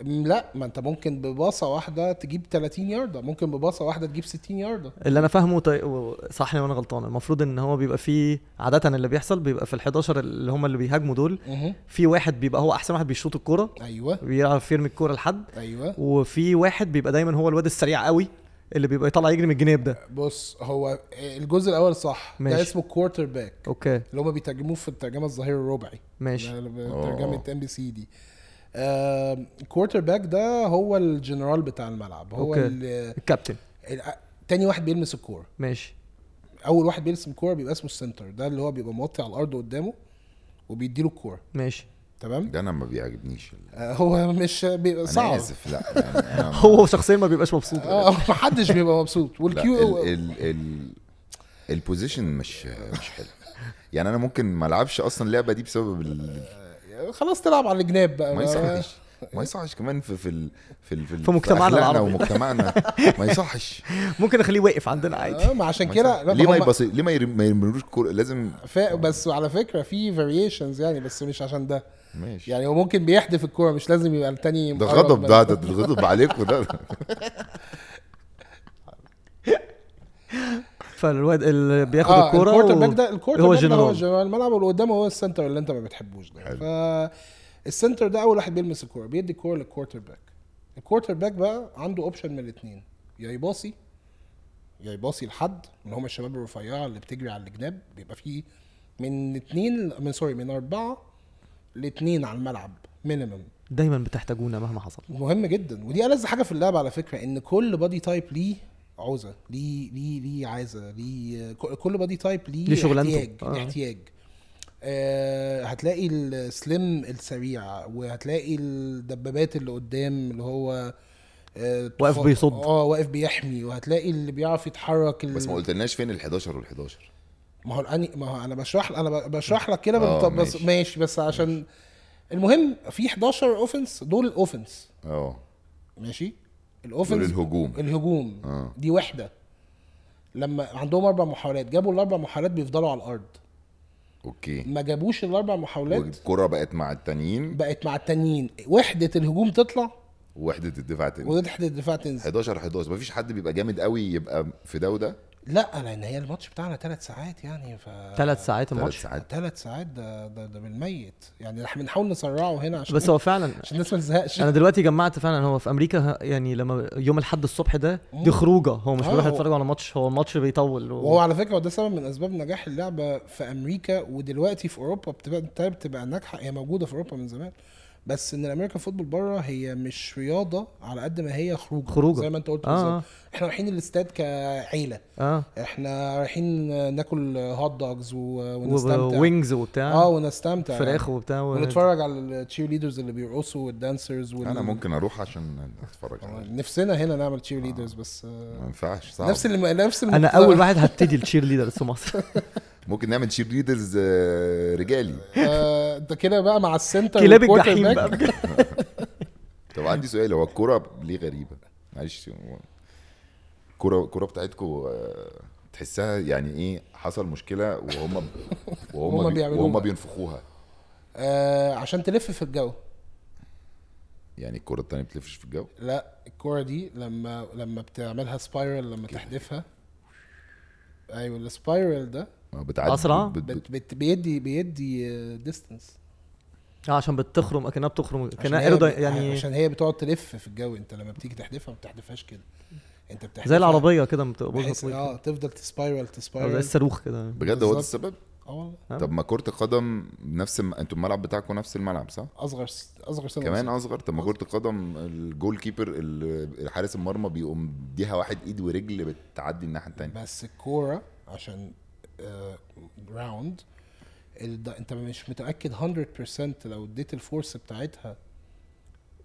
Speaker 1: م، لا ما انت ممكن بباصه واحده تجيب 30 ياردة ممكن بباصه واحده تجيب 60 ياردة
Speaker 2: اللي انا فاهمه طي... و- صحني وانا غلطان المفروض ان هو بيبقى فيه عاده اللي بيحصل بيبقى في ال11 اللي هم اللي بيهاجموا دول
Speaker 1: مهم.
Speaker 2: في واحد بيبقى هو احسن واحد بيشوط الكوره
Speaker 1: ايوه
Speaker 2: بيعرف يرمي الكوره لحد
Speaker 1: ايوه
Speaker 2: وفي واحد بيبقى دايما هو الواد السريع قوي اللي بيبقى طالع يجري من الجناب ده
Speaker 1: بص هو الجزء الاول صح
Speaker 2: ماشي.
Speaker 1: ده اسمه كوارتر باك
Speaker 2: اوكي
Speaker 1: اللي هم بيترجموه في الترجمه الظهير الربعي
Speaker 2: ماشي
Speaker 1: ده اللي
Speaker 3: آه.
Speaker 1: ترجمه ام بي سي دي الكوارتر باك ده هو الجنرال بتاع الملعب هو
Speaker 2: أوكي.
Speaker 1: ال-
Speaker 2: الكابتن
Speaker 1: ال- تاني واحد بيلمس الكوره
Speaker 2: ماشي
Speaker 1: اول واحد بيلمس الكوره بيبقى اسمه السنتر ده اللي هو بيبقى موطي على الارض قدامه وبيديله الكوره
Speaker 2: ماشي
Speaker 1: تمام
Speaker 3: ده انا ما بيعجبنيش
Speaker 1: آه، هو مش بيبقى
Speaker 3: انا
Speaker 1: صعب
Speaker 3: اسف لا يعني
Speaker 1: آه.
Speaker 3: انا
Speaker 2: هو شخصيا ما بيبقاش مبسوط
Speaker 1: اه محدش بيبقى مبسوط
Speaker 3: لا
Speaker 1: والكيو
Speaker 3: ال ال ال البوزيشن مش مش حلو يعني انا ممكن ما العبش اصلا اللعبه دي بسبب ال-
Speaker 1: خلاص تلعب على الجناب بقى
Speaker 3: ما يصحش ما يصحش كمان في في ال في ال
Speaker 2: في مجتمعنا
Speaker 3: أخلاقنا
Speaker 2: العربي.
Speaker 3: ومجتمعنا ما يصحش
Speaker 2: ممكن اخليه واقف عندنا عادي
Speaker 1: آه، ما عشان
Speaker 3: ما
Speaker 1: كده
Speaker 3: يصحش.
Speaker 1: لا،
Speaker 3: ليه
Speaker 1: ما
Speaker 3: ما
Speaker 1: هم-
Speaker 3: يبص ليه ما يرم- ما يرملوش الكوره لازم
Speaker 1: ف... بس على فكره في فاريشنز يعني بس مش عشان ده
Speaker 3: ماشي
Speaker 1: يعني هو ممكن بيحدف الكوره مش لازم يبقى التاني
Speaker 3: ده
Speaker 1: مقرب آه،
Speaker 3: غضب
Speaker 1: منه.
Speaker 3: ده ده ده غضب عليكم ده
Speaker 2: فالواد اللي بياخد
Speaker 1: اه
Speaker 2: الكوره
Speaker 1: الكورتر
Speaker 2: و-
Speaker 1: باك ده الكورتر
Speaker 2: هو
Speaker 1: باك ده هو
Speaker 2: جنرال.
Speaker 1: جنرال الملعب واللي قدامه هو السنتر اللي انت ما بتحبوش ده
Speaker 3: حلو.
Speaker 1: ف السنتر ده اول واحد بيلمس الكوره بيدي الكوره للكورتر باك الكورتر باك بقى عنده اوبشن من الاثنين يا يباصي يا يباصي لحد اللي هم الشباب الرفيعه اللي بتجري على الجناب بيبقى فيه من اثنين من سوري من اربعه لاثنين على الملعب مينيمم
Speaker 2: دايما بتحتاجونا مهما حصل
Speaker 1: مهم جدا ودي ألذ حاجه في اللعبه على فكره ان كل بادي تايب ليه عوزه ليه ليه ليه عايزه ليه ك- كل بادي تايب ليه,
Speaker 2: ليه شغلانته.
Speaker 1: احتياج
Speaker 2: آه.
Speaker 1: آه. احتياج آه هتلاقي السليم السريع وهتلاقي الدبابات اللي قدام اللي هو آه،
Speaker 2: واقف
Speaker 1: ف-
Speaker 2: بيصد.
Speaker 1: اه واقف بيحمي وهتلاقي اللي بيعرف يتحرك ال-
Speaker 3: بس ما قلتلناش فين ال 11 وال 11
Speaker 1: ما هو الأني... ما هو انا بشرح انا ب- بشرح لك كده
Speaker 3: آه،
Speaker 1: بس ماشي.
Speaker 3: ماشي.
Speaker 1: ماشي بس عشان المهم في 11 اوفنس دول الاوفنس
Speaker 3: اه
Speaker 1: ماشي الاوفنس
Speaker 3: دول الهجوم
Speaker 1: الهجوم
Speaker 3: آه.
Speaker 1: دي وحده لما عندهم اربع محاولات جابوا الاربع محاولات بيفضلوا على الارض
Speaker 3: اوكي
Speaker 1: ما جابوش الاربع محاولات
Speaker 3: والكره بقت مع التانيين
Speaker 1: بقت مع التانيين وحده الهجوم تطلع
Speaker 3: وحده الدفاع تاني
Speaker 1: ووحده الدفاع تنزل
Speaker 3: 11 11 مفيش حد بيبقى جامد قوي يبقى في ده وده
Speaker 1: لا لان هي الماتش بتاعنا ثلاث ساعات يعني ف
Speaker 2: ثلاث ساعات
Speaker 3: ثلاث
Speaker 2: الماتش
Speaker 3: ساعات
Speaker 1: ثلاث ساعات ده ده, ده بالميت يعني احنا بنحاول نسرعه هنا عشان
Speaker 2: بس هو فعلا
Speaker 1: عشان الناس ما تزهقش
Speaker 2: انا دلوقتي جمعت فعلا هو في امريكا ه- يعني لما يوم الاحد الصبح ده دي خروجه هو مش
Speaker 1: آه،
Speaker 2: بيروح
Speaker 1: هو-
Speaker 2: يتفرج على ماتش هو الماتش بيطول و...
Speaker 1: وهو على فكره ده سبب من اسباب نجاح اللعبه في امريكا ودلوقتي في اوروبا بتبقى بتبقى, بتبقى ناجحه هي موجوده في اوروبا من زمان بس ان الامريكان فوتبول بره هي مش رياضه على قد ما هي خروجه
Speaker 2: خروجة.
Speaker 1: زي ما انت قلت
Speaker 2: آه.
Speaker 1: بالظبط احنا رايحين الاستاد كعيله
Speaker 2: اه
Speaker 1: احنا رايحين ناكل هوت دوجز و- ونستمتع
Speaker 2: ووينجز وبتاع
Speaker 1: اه ونستمتع
Speaker 2: فراخ وبتاع و...
Speaker 1: ونتفرج على التشير ليدرز اللي بيرقصوا والدانسرز وال...
Speaker 3: انا ممكن اروح عشان اتفرج على
Speaker 1: نفسنا هنا نعمل تشير ليدرز بس آه،
Speaker 3: ما ينفعش صعب
Speaker 1: نفس اللي نفس اللي
Speaker 2: انا اول واحد هبتدي التشير ليدرز في مصر
Speaker 3: ممكن نعمل تشير ليدرز رجالي
Speaker 1: آه، ده كده بقى مع السنتر
Speaker 2: كلاب
Speaker 1: والكوارتر
Speaker 2: الجحيم
Speaker 1: باك.
Speaker 2: بقى
Speaker 3: طب عندي سؤال هو الكوره ليه غريبه معلش هو الكوره الكوره بتاعتكم آه، تحسها يعني ايه حصل مشكله وهم
Speaker 1: هما
Speaker 3: وهم بي
Speaker 1: بيعملوها.
Speaker 3: وهم بينفخوها
Speaker 1: آه عشان تلف في الجو
Speaker 3: يعني الكوره التانيه بتلفش في الجو
Speaker 1: لا الكرة دي لما لما بتعملها سبايرال لما تحدفها ايوه السبايرال ده
Speaker 3: ما آه، بتعدي
Speaker 2: أسرع؟
Speaker 3: بت- بت-
Speaker 1: بت بت بيدي بيدي ديستنس
Speaker 2: آه، عشان بتخرم اكنها بتخرم كانها aerody- يعني
Speaker 1: عشان هي بتقعد تلف في الجو انت لما بتيجي تحدفها ما بتحدفهاش كده انت بتحدفها
Speaker 2: زي العربيه كده
Speaker 1: بحيث- طيب.
Speaker 2: بتقبضها
Speaker 1: اه تفضل تسبايرال
Speaker 2: او زي
Speaker 1: تسبايرال
Speaker 2: الصاروخ كده
Speaker 3: بجد هو ده
Speaker 1: بالظبط.
Speaker 3: السبب
Speaker 1: اه والله
Speaker 3: طب ما كره القدم نفس الم... انتوا الملعب بتاعكم نفس الملعب صح
Speaker 1: اصغر س- اصغر سنه
Speaker 3: كمان
Speaker 1: بالظبط.
Speaker 3: اصغر طب ما كره القدم الجول كيبر ال- حارس المرمى بيقوم اديها واحد ايد ورجل بتعدي الناحيه التانيه
Speaker 1: بس الكوره عشان آه، راوند انت مش متاكد 100% لو اديت الفورس بتاعتها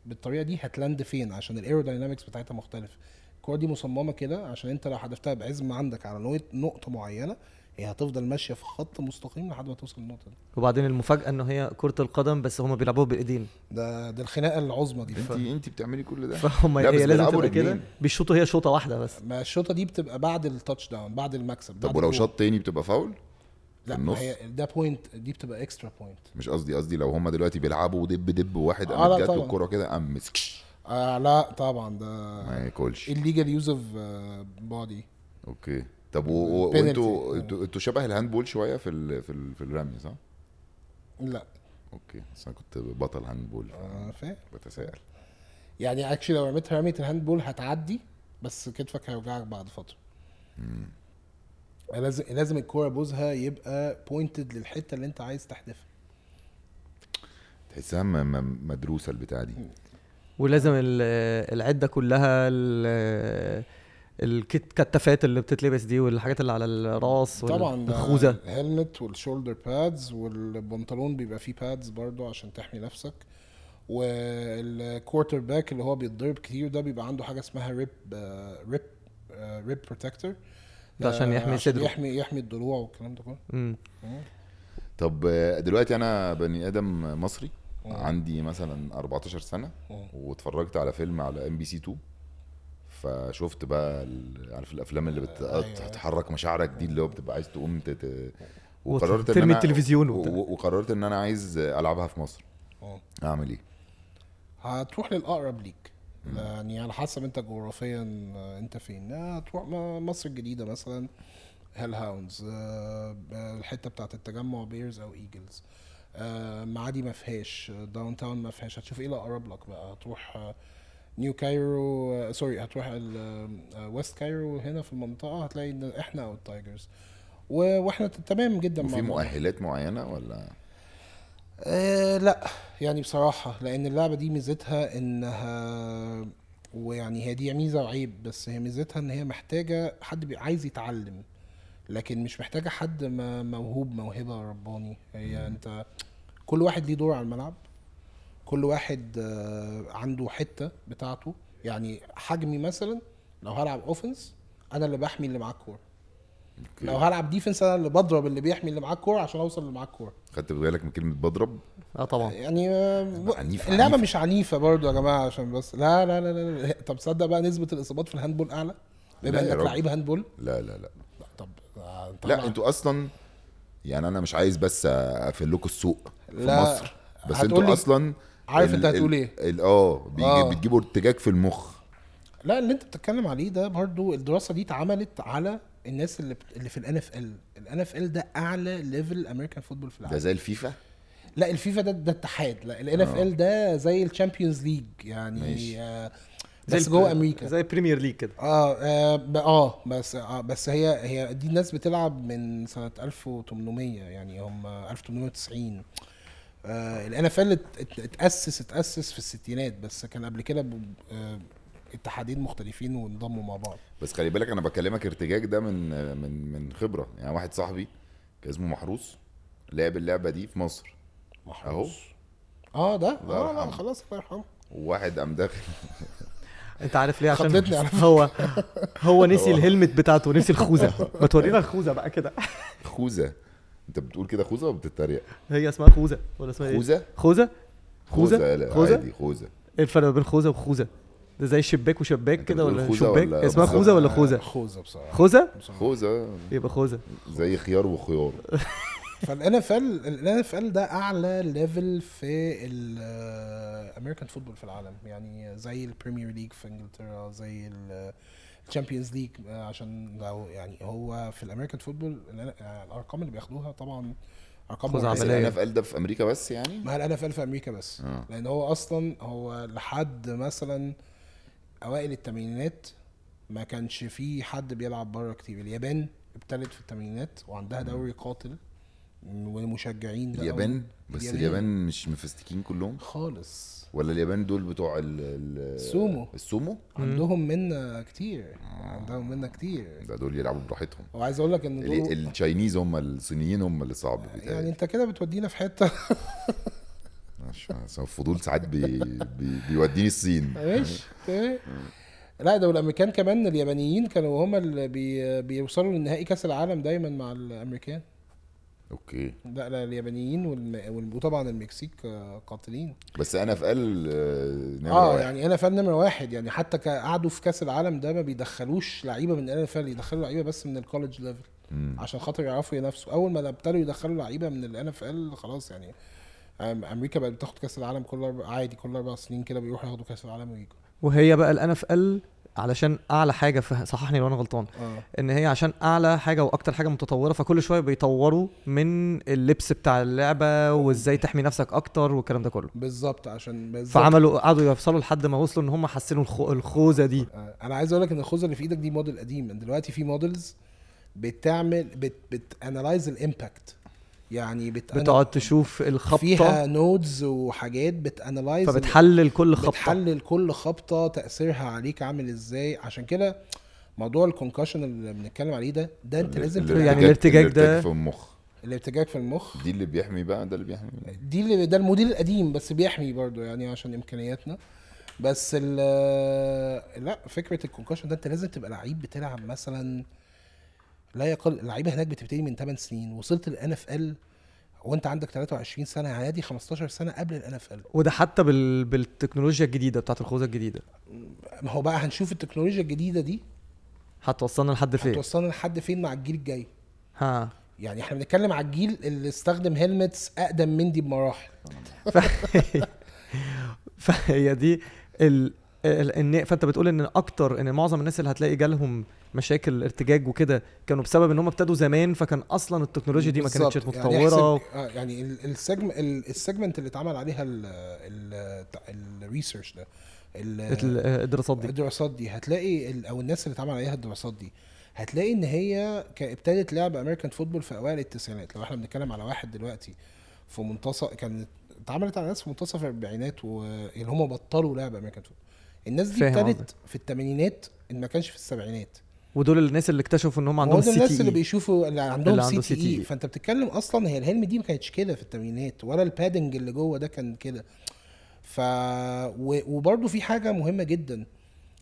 Speaker 1: بالطريقه دي هتلاند فين عشان الايروداينامكس بتاعتها مختلفه الكوره دي مصممه كده عشان انت لو حدفتها بعزم عندك على نوع- نقطه معينه هي هتفضل ماشيه في خط مستقيم لحد ما توصل للنقطه دي
Speaker 2: وبعدين المفاجاه ان هي كره القدم بس هما بيلعبوها بايدين
Speaker 1: ده ده الخناقه العظمى دي
Speaker 3: انت انت بتعملي كل ده
Speaker 2: فهم
Speaker 3: لا، بس
Speaker 2: هي لازم
Speaker 3: بيلعبوا
Speaker 2: تبقى كده
Speaker 3: رجلين.
Speaker 2: بيشوطوا هي شوطه واحده بس
Speaker 1: ما الشوطه دي بتبقى بعد التاتش داون بعد المكسب
Speaker 3: طب
Speaker 1: بعد
Speaker 3: ولو
Speaker 1: الجول.
Speaker 3: شاط تاني بتبقى فاول
Speaker 1: لا ما
Speaker 3: النص؟
Speaker 1: هي ده بوينت دي بتبقى اكسترا بوينت
Speaker 3: مش قصدي قصدي لو هما دلوقتي بيلعبوا دب دب وواحد
Speaker 1: آه،
Speaker 3: قامت
Speaker 1: لا
Speaker 3: جات له
Speaker 1: طبعاً.
Speaker 3: الكوره كده قام مسكش
Speaker 1: آه لا طبعا ده
Speaker 3: ما ياكلش
Speaker 1: illegal use of uh, بودي
Speaker 3: اوكي طب و- و-
Speaker 1: Penalty.
Speaker 3: وانتوا انتوا- انتوا شبه الهاندبول شويه في ال... في ال... في الرمي صح؟
Speaker 1: لا
Speaker 3: اوكي بس انا كنت بطل هاندبول
Speaker 1: آه، فاهم
Speaker 3: بتساءل
Speaker 1: يعني اكشلي لو رميتها رميه الهاند بول هتعدي بس كتفك هيوجعك بعد فتره لازم لازم الكوره بوزها يبقى بوينتد للحته اللي انت عايز تحدفها
Speaker 3: تحسها م- م- مدروسه البتاع دي
Speaker 2: ولازم ال- العده كلها ال- الكتافات اللي بتتلبس دي والحاجات اللي على الراس
Speaker 1: طبعا ده
Speaker 2: والخوذه
Speaker 1: الهلمت والشولدر بادز والبنطلون بيبقى فيه بادز برضو عشان تحمي نفسك والكوارتر باك اللي هو بيتضرب كتير ده بيبقى عنده حاجه اسمها آه، ريب ريب ريب بروتكتور
Speaker 2: ده عشان يحمي صدره.
Speaker 1: آه، يحمي يحمي الضلوع والكلام ده كله
Speaker 2: مم.
Speaker 3: طب آه، دلوقتي انا بني ادم مصري
Speaker 1: مم.
Speaker 3: عندي مثلا 14 سنه
Speaker 1: مم.
Speaker 3: واتفرجت على فيلم على ام بي سي 2 فشفت بقى ال- عارف الافلام اللي
Speaker 1: أيوة.
Speaker 3: بتحرك مشاعرك دي اللي هو بتبقى عايز تقوم تت... وقررت ان
Speaker 2: وترمي
Speaker 3: انا
Speaker 2: التلفزيون
Speaker 3: و-
Speaker 2: وبتاع.
Speaker 3: و- وقررت ان انا عايز العبها في مصر
Speaker 1: اه
Speaker 3: اعمل ايه؟
Speaker 1: هتروح للاقرب ليك يعني على حسب انت جغرافيا آه، انت فين آه، هتروح م- مصر الجديده مثلا هيل هاونز آه، الحته بتاعت التجمع بيرز او ايجلز آه، معادي ما فيهاش داون تاون ما فيهاش هتشوف ايه اللي اقرب لك بقى هتروح آه، نيو كايرو آه، سوري هتروح ال- آه، آه، ويست كايرو هنا في المنطقه هتلاقي ان احنا او التايجرز و- واحنا تمام جدا مع
Speaker 3: وفي
Speaker 1: بعض.
Speaker 3: مؤهلات معينه ولا
Speaker 1: آه لا يعني بصراحة لأن اللعبة دي ميزتها إنها ويعني هي دي ميزة وعيب بس هي ميزتها إن هي محتاجة حد بي- عايز يتعلم لكن مش محتاجة حد ما- موهوب موهبة رباني هي أنت كل واحد ليه دور على الملعب كل واحد آه، عنده حتة بتاعته يعني حجمي مثلا لو هلعب اوفنس أنا اللي بحمي اللي معاه الكورة
Speaker 3: أوكي.
Speaker 1: لو هلعب ديفنس أنا اللي بضرب اللي بيحمي اللي معاه الكورة عشان أوصل اللي معاه الكورة
Speaker 3: خدت بالك من كلمه بضرب
Speaker 2: اه
Speaker 3: آه.
Speaker 2: طبعا
Speaker 1: يعني آه،
Speaker 3: عنيفة،
Speaker 1: اللعبه
Speaker 3: عنيفة.
Speaker 1: مش عنيفه برضو يا جماعه عشان بس لا لا لا لا, لا. طب صدق بقى نسبه الاصابات في الهاندبول اعلى
Speaker 3: لا
Speaker 1: بما
Speaker 3: يا
Speaker 1: انك
Speaker 3: راجل.
Speaker 1: لعيب هاندبول
Speaker 3: لا لا لا
Speaker 1: لا، طب آه،
Speaker 3: لا انتوا اصلا يعني انا مش عايز بس اقفل لكم السوق في
Speaker 1: لا،
Speaker 3: مصر بس
Speaker 1: هتقولي-
Speaker 3: انتوا اصلا
Speaker 1: عارف
Speaker 3: ال-
Speaker 1: انت هتقول
Speaker 3: ال-
Speaker 1: ايه.
Speaker 3: ال- اه بيجي-
Speaker 1: آه.
Speaker 3: بتجيبوا ارتجاج في المخ
Speaker 1: لا اللي انت بتتكلم عليه ده برضو الدراسه دي اتعملت على الناس اللي بت... اللي في الان اف ال الان اف ال ده اعلى ليفل امريكان فوتبول في
Speaker 3: ده
Speaker 1: العالم
Speaker 3: زي الفيفا
Speaker 1: لا الفيفا ده ده اتحاد لا الان اف
Speaker 3: آه.
Speaker 1: ال ده زي الشامبيونز ليج يعني
Speaker 3: ماشي.
Speaker 1: آه
Speaker 2: زي
Speaker 1: بس
Speaker 2: ال-
Speaker 1: جوه امريكا
Speaker 2: زي بريمير ليج كده
Speaker 1: اه اه ب- آه، بس آه بس هي هي دي الناس بتلعب من سنة 1800 يعني هم 1890 آه الان اف ال اتأسس اتأسس في الستينات بس كان قبل كده ب- آه، اتحادين مختلفين وانضموا مع بعض
Speaker 3: بس خلي بالك انا بكلمك ارتجاج ده من من من خبره يعني واحد صاحبي كان اسمه محروس لعب اللعبه دي في مصر اهو
Speaker 1: اه ده
Speaker 3: الله
Speaker 1: اه لا
Speaker 3: يرحمه.
Speaker 1: خلاص الله يرحمه
Speaker 3: وواحد قام داخل
Speaker 2: انت عارف ليه عشان
Speaker 1: خضتني على
Speaker 2: هو هو نسي الهلمت بتاعته نسي الخوذه ما تورينا الخوذه بقى كده
Speaker 3: خوذه انت بتقول كده خوذه وبتتريق
Speaker 2: هي اسمها خوذه ولا اسمها
Speaker 1: إيه؟
Speaker 2: ايه
Speaker 3: خوذه
Speaker 2: خوذه
Speaker 3: خوذه
Speaker 2: خوذه
Speaker 3: لا
Speaker 2: خوذه
Speaker 3: عادي خوذه
Speaker 2: ايه الفرق بين خوذه وخوذه ده زي شباك وشباك
Speaker 3: انت
Speaker 2: كده
Speaker 3: بتقول
Speaker 2: ولا
Speaker 3: خوذة
Speaker 2: شباك
Speaker 3: ولا-
Speaker 2: اسمها
Speaker 3: بالظبط.
Speaker 2: خوذه آه، ولا خوذه
Speaker 1: آه، خوذة بصراحة
Speaker 2: خوذه
Speaker 3: خوذه
Speaker 2: يبقى خوذه
Speaker 3: زي خيار وخيار
Speaker 1: فالان اف ال الان اف ال ده اعلى ليفل في الامريكان فوتبول في العالم يعني زي البريمير ليج في انجلترا زي الشامبيونز ليج عشان لو يعني هو في الامريكان فوتبول الارقام اللي بياخدوها طبعا ارقام
Speaker 2: خزعبلية.
Speaker 1: مرعبة.
Speaker 3: انا في قلده في امريكا بس يعني
Speaker 1: ما هي الان اف ال في امريكا بس
Speaker 3: آه.
Speaker 1: لان هو اصلا هو لحد مثلا اوائل الثمانينات ما كانش فيه حد بيلعب بره كتير اليابان ابتدت في الثمانينات وعندها دوري قاتل ومشجعين بقى
Speaker 3: اليابان بس
Speaker 1: اليابان.
Speaker 3: اليابان, مش مفستكين كلهم
Speaker 1: خالص
Speaker 3: ولا اليابان دول بتوع ال ال-
Speaker 1: السومو.
Speaker 3: السومو
Speaker 1: عندهم منا كتير عندهم منا كتير
Speaker 3: آه. ده دول يلعبوا براحتهم
Speaker 1: وعايز اقول لك ان
Speaker 3: ال-
Speaker 1: دول
Speaker 3: التشاينيز هم الصينيين هم اللي صعب
Speaker 1: يعني
Speaker 3: بيتهيألي.
Speaker 1: انت كده بتودينا في حته
Speaker 3: عشان عشان الفضول ساعات بي بي بيوديني الصين
Speaker 1: ماشي
Speaker 3: آه.
Speaker 1: تمام. لا ده والامريكان كمان اليابانيين كانوا هما اللي بي بيوصلوا لنهائي كاس العالم دايما مع الامريكان
Speaker 3: اوكي
Speaker 1: لا لا اليابانيين والم... والم- وطبعا المكسيك آه، قاتلين
Speaker 3: بس انا في قل
Speaker 1: اه يعني انا فان نمره واحد يعني حتى ك- قعدوا في كاس العالم ده ما بيدخلوش لعيبه من ال فال يدخلوا لعيبه بس من الكولج ليفل عشان خاطر يعرفوا ينافسوا اول ما ابتدوا يدخلوا لعيبه من الان اف ال خلاص يعني أم- امريكا بقت بتاخد كاس العالم كل أربع عادي كل اربع سنين كده بيروحوا ياخدوا كاس العالم ويجوا
Speaker 2: وهي بقى الان اف ال علشان اعلى حاجه في صححني لو انا غلطان
Speaker 1: اه
Speaker 2: ان هي عشان اعلى حاجه واكتر حاجه متطوره فكل شويه بيطوروا من اللبس بتاع اللعبه وازاي تحمي نفسك اكتر والكلام ده كله
Speaker 1: بالظبط عشان بالظبط
Speaker 2: فعملوا قعدوا يفصلوا لحد ما وصلوا ان هم حسنوا الخو... الخوذه دي
Speaker 1: آه، انا عايز اقول لك ان الخوذه اللي في ايدك دي موديل قديم إن دلوقتي في موديلز بتعمل بت بتانلايز الامباكت يعني بت
Speaker 2: بتقعد تشوف
Speaker 1: فيها
Speaker 2: الخبطه
Speaker 1: نودز وحاجات بتانلايز
Speaker 2: فبتحلل كل خبطه
Speaker 1: بتحلل كل خبطه تاثيرها عليك عامل ازاي عشان كده موضوع الكونكشن اللي بنتكلم عليه ده ده انت لازم
Speaker 2: يعني
Speaker 1: تبقى-
Speaker 2: الارتجاج ده-
Speaker 3: في المخ
Speaker 1: الارتجاج في المخ
Speaker 3: دي اللي بيحمي بقى ده اللي بيحمي
Speaker 1: دي اللي ده الموديل القديم بس بيحمي برضو يعني عشان امكانياتنا بس ال لا فكره الكونكشن ده انت لازم تبقى لعيب بتلعب مثلا لا يقل اللعيبه هناك بتبتدي من 8 سنين وصلت للان اف ال وانت عندك 23 سنه عادي 15 سنه قبل الان اف ال
Speaker 2: وده حتى بال... بالتكنولوجيا الجديده بتاعت الخوذه الجديده
Speaker 1: ما هو بقى هنشوف التكنولوجيا الجديده دي
Speaker 2: هتوصلنا لحد فين
Speaker 1: هتوصلنا لحد فين مع الجيل الجاي
Speaker 2: ها
Speaker 1: يعني احنا بنتكلم على الجيل اللي استخدم هيلمتس اقدم من دي بمراحل
Speaker 2: فهي دي ال... ال... إن... فانت بتقول ان اكتر ان معظم الناس اللي هتلاقي جالهم مشاكل ارتجاج وكده كانوا بسبب ان هم ابتدوا زمان فكان اصلا التكنولوجيا دي ما كانتش
Speaker 1: بالظبط.
Speaker 2: متطوره
Speaker 1: يعني, احسب- آه، يعني ال- السجم ال- السيجمنت اللي اتعمل عليها ال- ال- الريسيرش ده ال-
Speaker 2: ال- الدراسات دي
Speaker 1: الدراسات دي هتلاقي ال- او الناس اللي اتعمل عليها الدراسات دي هتلاقي ان هي ك- ابتدت لعب امريكان فوتبول في اوائل التسعينات لو احنا بنتكلم على واحد دلوقتي في منتصف كانت اتعملت على ناس في منتصف الاربعينات واللي هم بطلوا لعب امريكان فوتبول الناس دي
Speaker 2: فاهم
Speaker 1: ابتدت
Speaker 2: قصدك.
Speaker 1: في الثمانينات ان ما كانش في السبعينات
Speaker 2: ودول الناس اللي اكتشفوا ان هم
Speaker 1: هو
Speaker 2: عندهم E.
Speaker 1: ده
Speaker 2: سي
Speaker 1: الناس اللي
Speaker 2: تي إيه.
Speaker 1: بيشوفوا اللي عندهم
Speaker 2: عنده إيه.
Speaker 1: سي تي اي
Speaker 2: CTE.
Speaker 1: فانت بتتكلم اصلا هي الهلم دي ما كانتش كده في الثمانينات ولا البادنج اللي جوه ده كان كده ف و- وبرضه في حاجه مهمه جدا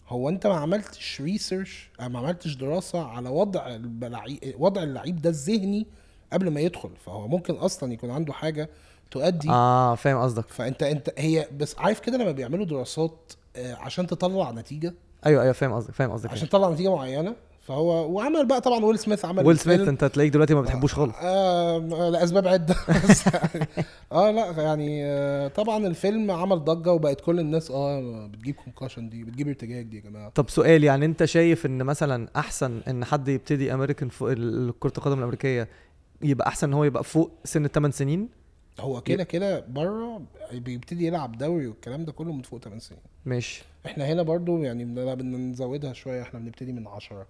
Speaker 1: هو انت ما عملتش ريسيرش ما عملتش دراسه على وضع البلعي... وضع اللعيب ده الذهني قبل ما يدخل فهو ممكن اصلا يكون عنده حاجه تؤدي
Speaker 2: اه فاهم قصدك
Speaker 1: فانت انت هي بس عارف كده لما بيعملوا دراسات آه، عشان تطلع نتيجه
Speaker 2: ايوه ايوه فاهم قصدك فاهم قصدك
Speaker 1: عشان تطلع نتيجه معينه فهو وعمل بقى طبعا ويل سميث عمل
Speaker 2: ويل سميث
Speaker 1: الفيلم.
Speaker 2: انت هتلاقيك دلوقتي ما بتحبوش خالص
Speaker 1: آه لاسباب عده بس يعني- اه لا يعني آه طبعا الفيلم عمل ضجه وبقت كل الناس اه بتجيب كونكشن دي بتجيب ارتجاج دي يا جماعه
Speaker 2: طب سؤال يعني انت شايف ان مثلا احسن ان حد يبتدي امريكان فوق كرة القدم الامريكية يبقى احسن ان هو يبقى فوق سن الثمان سنين
Speaker 1: هو كده كده بره بيبتدي يلعب دوري والكلام ده كله من فوق 8 سنين
Speaker 2: ماشي
Speaker 1: احنا هنا برضو يعني بن- لا، بدنا نزودها شويه احنا بنبتدي من 10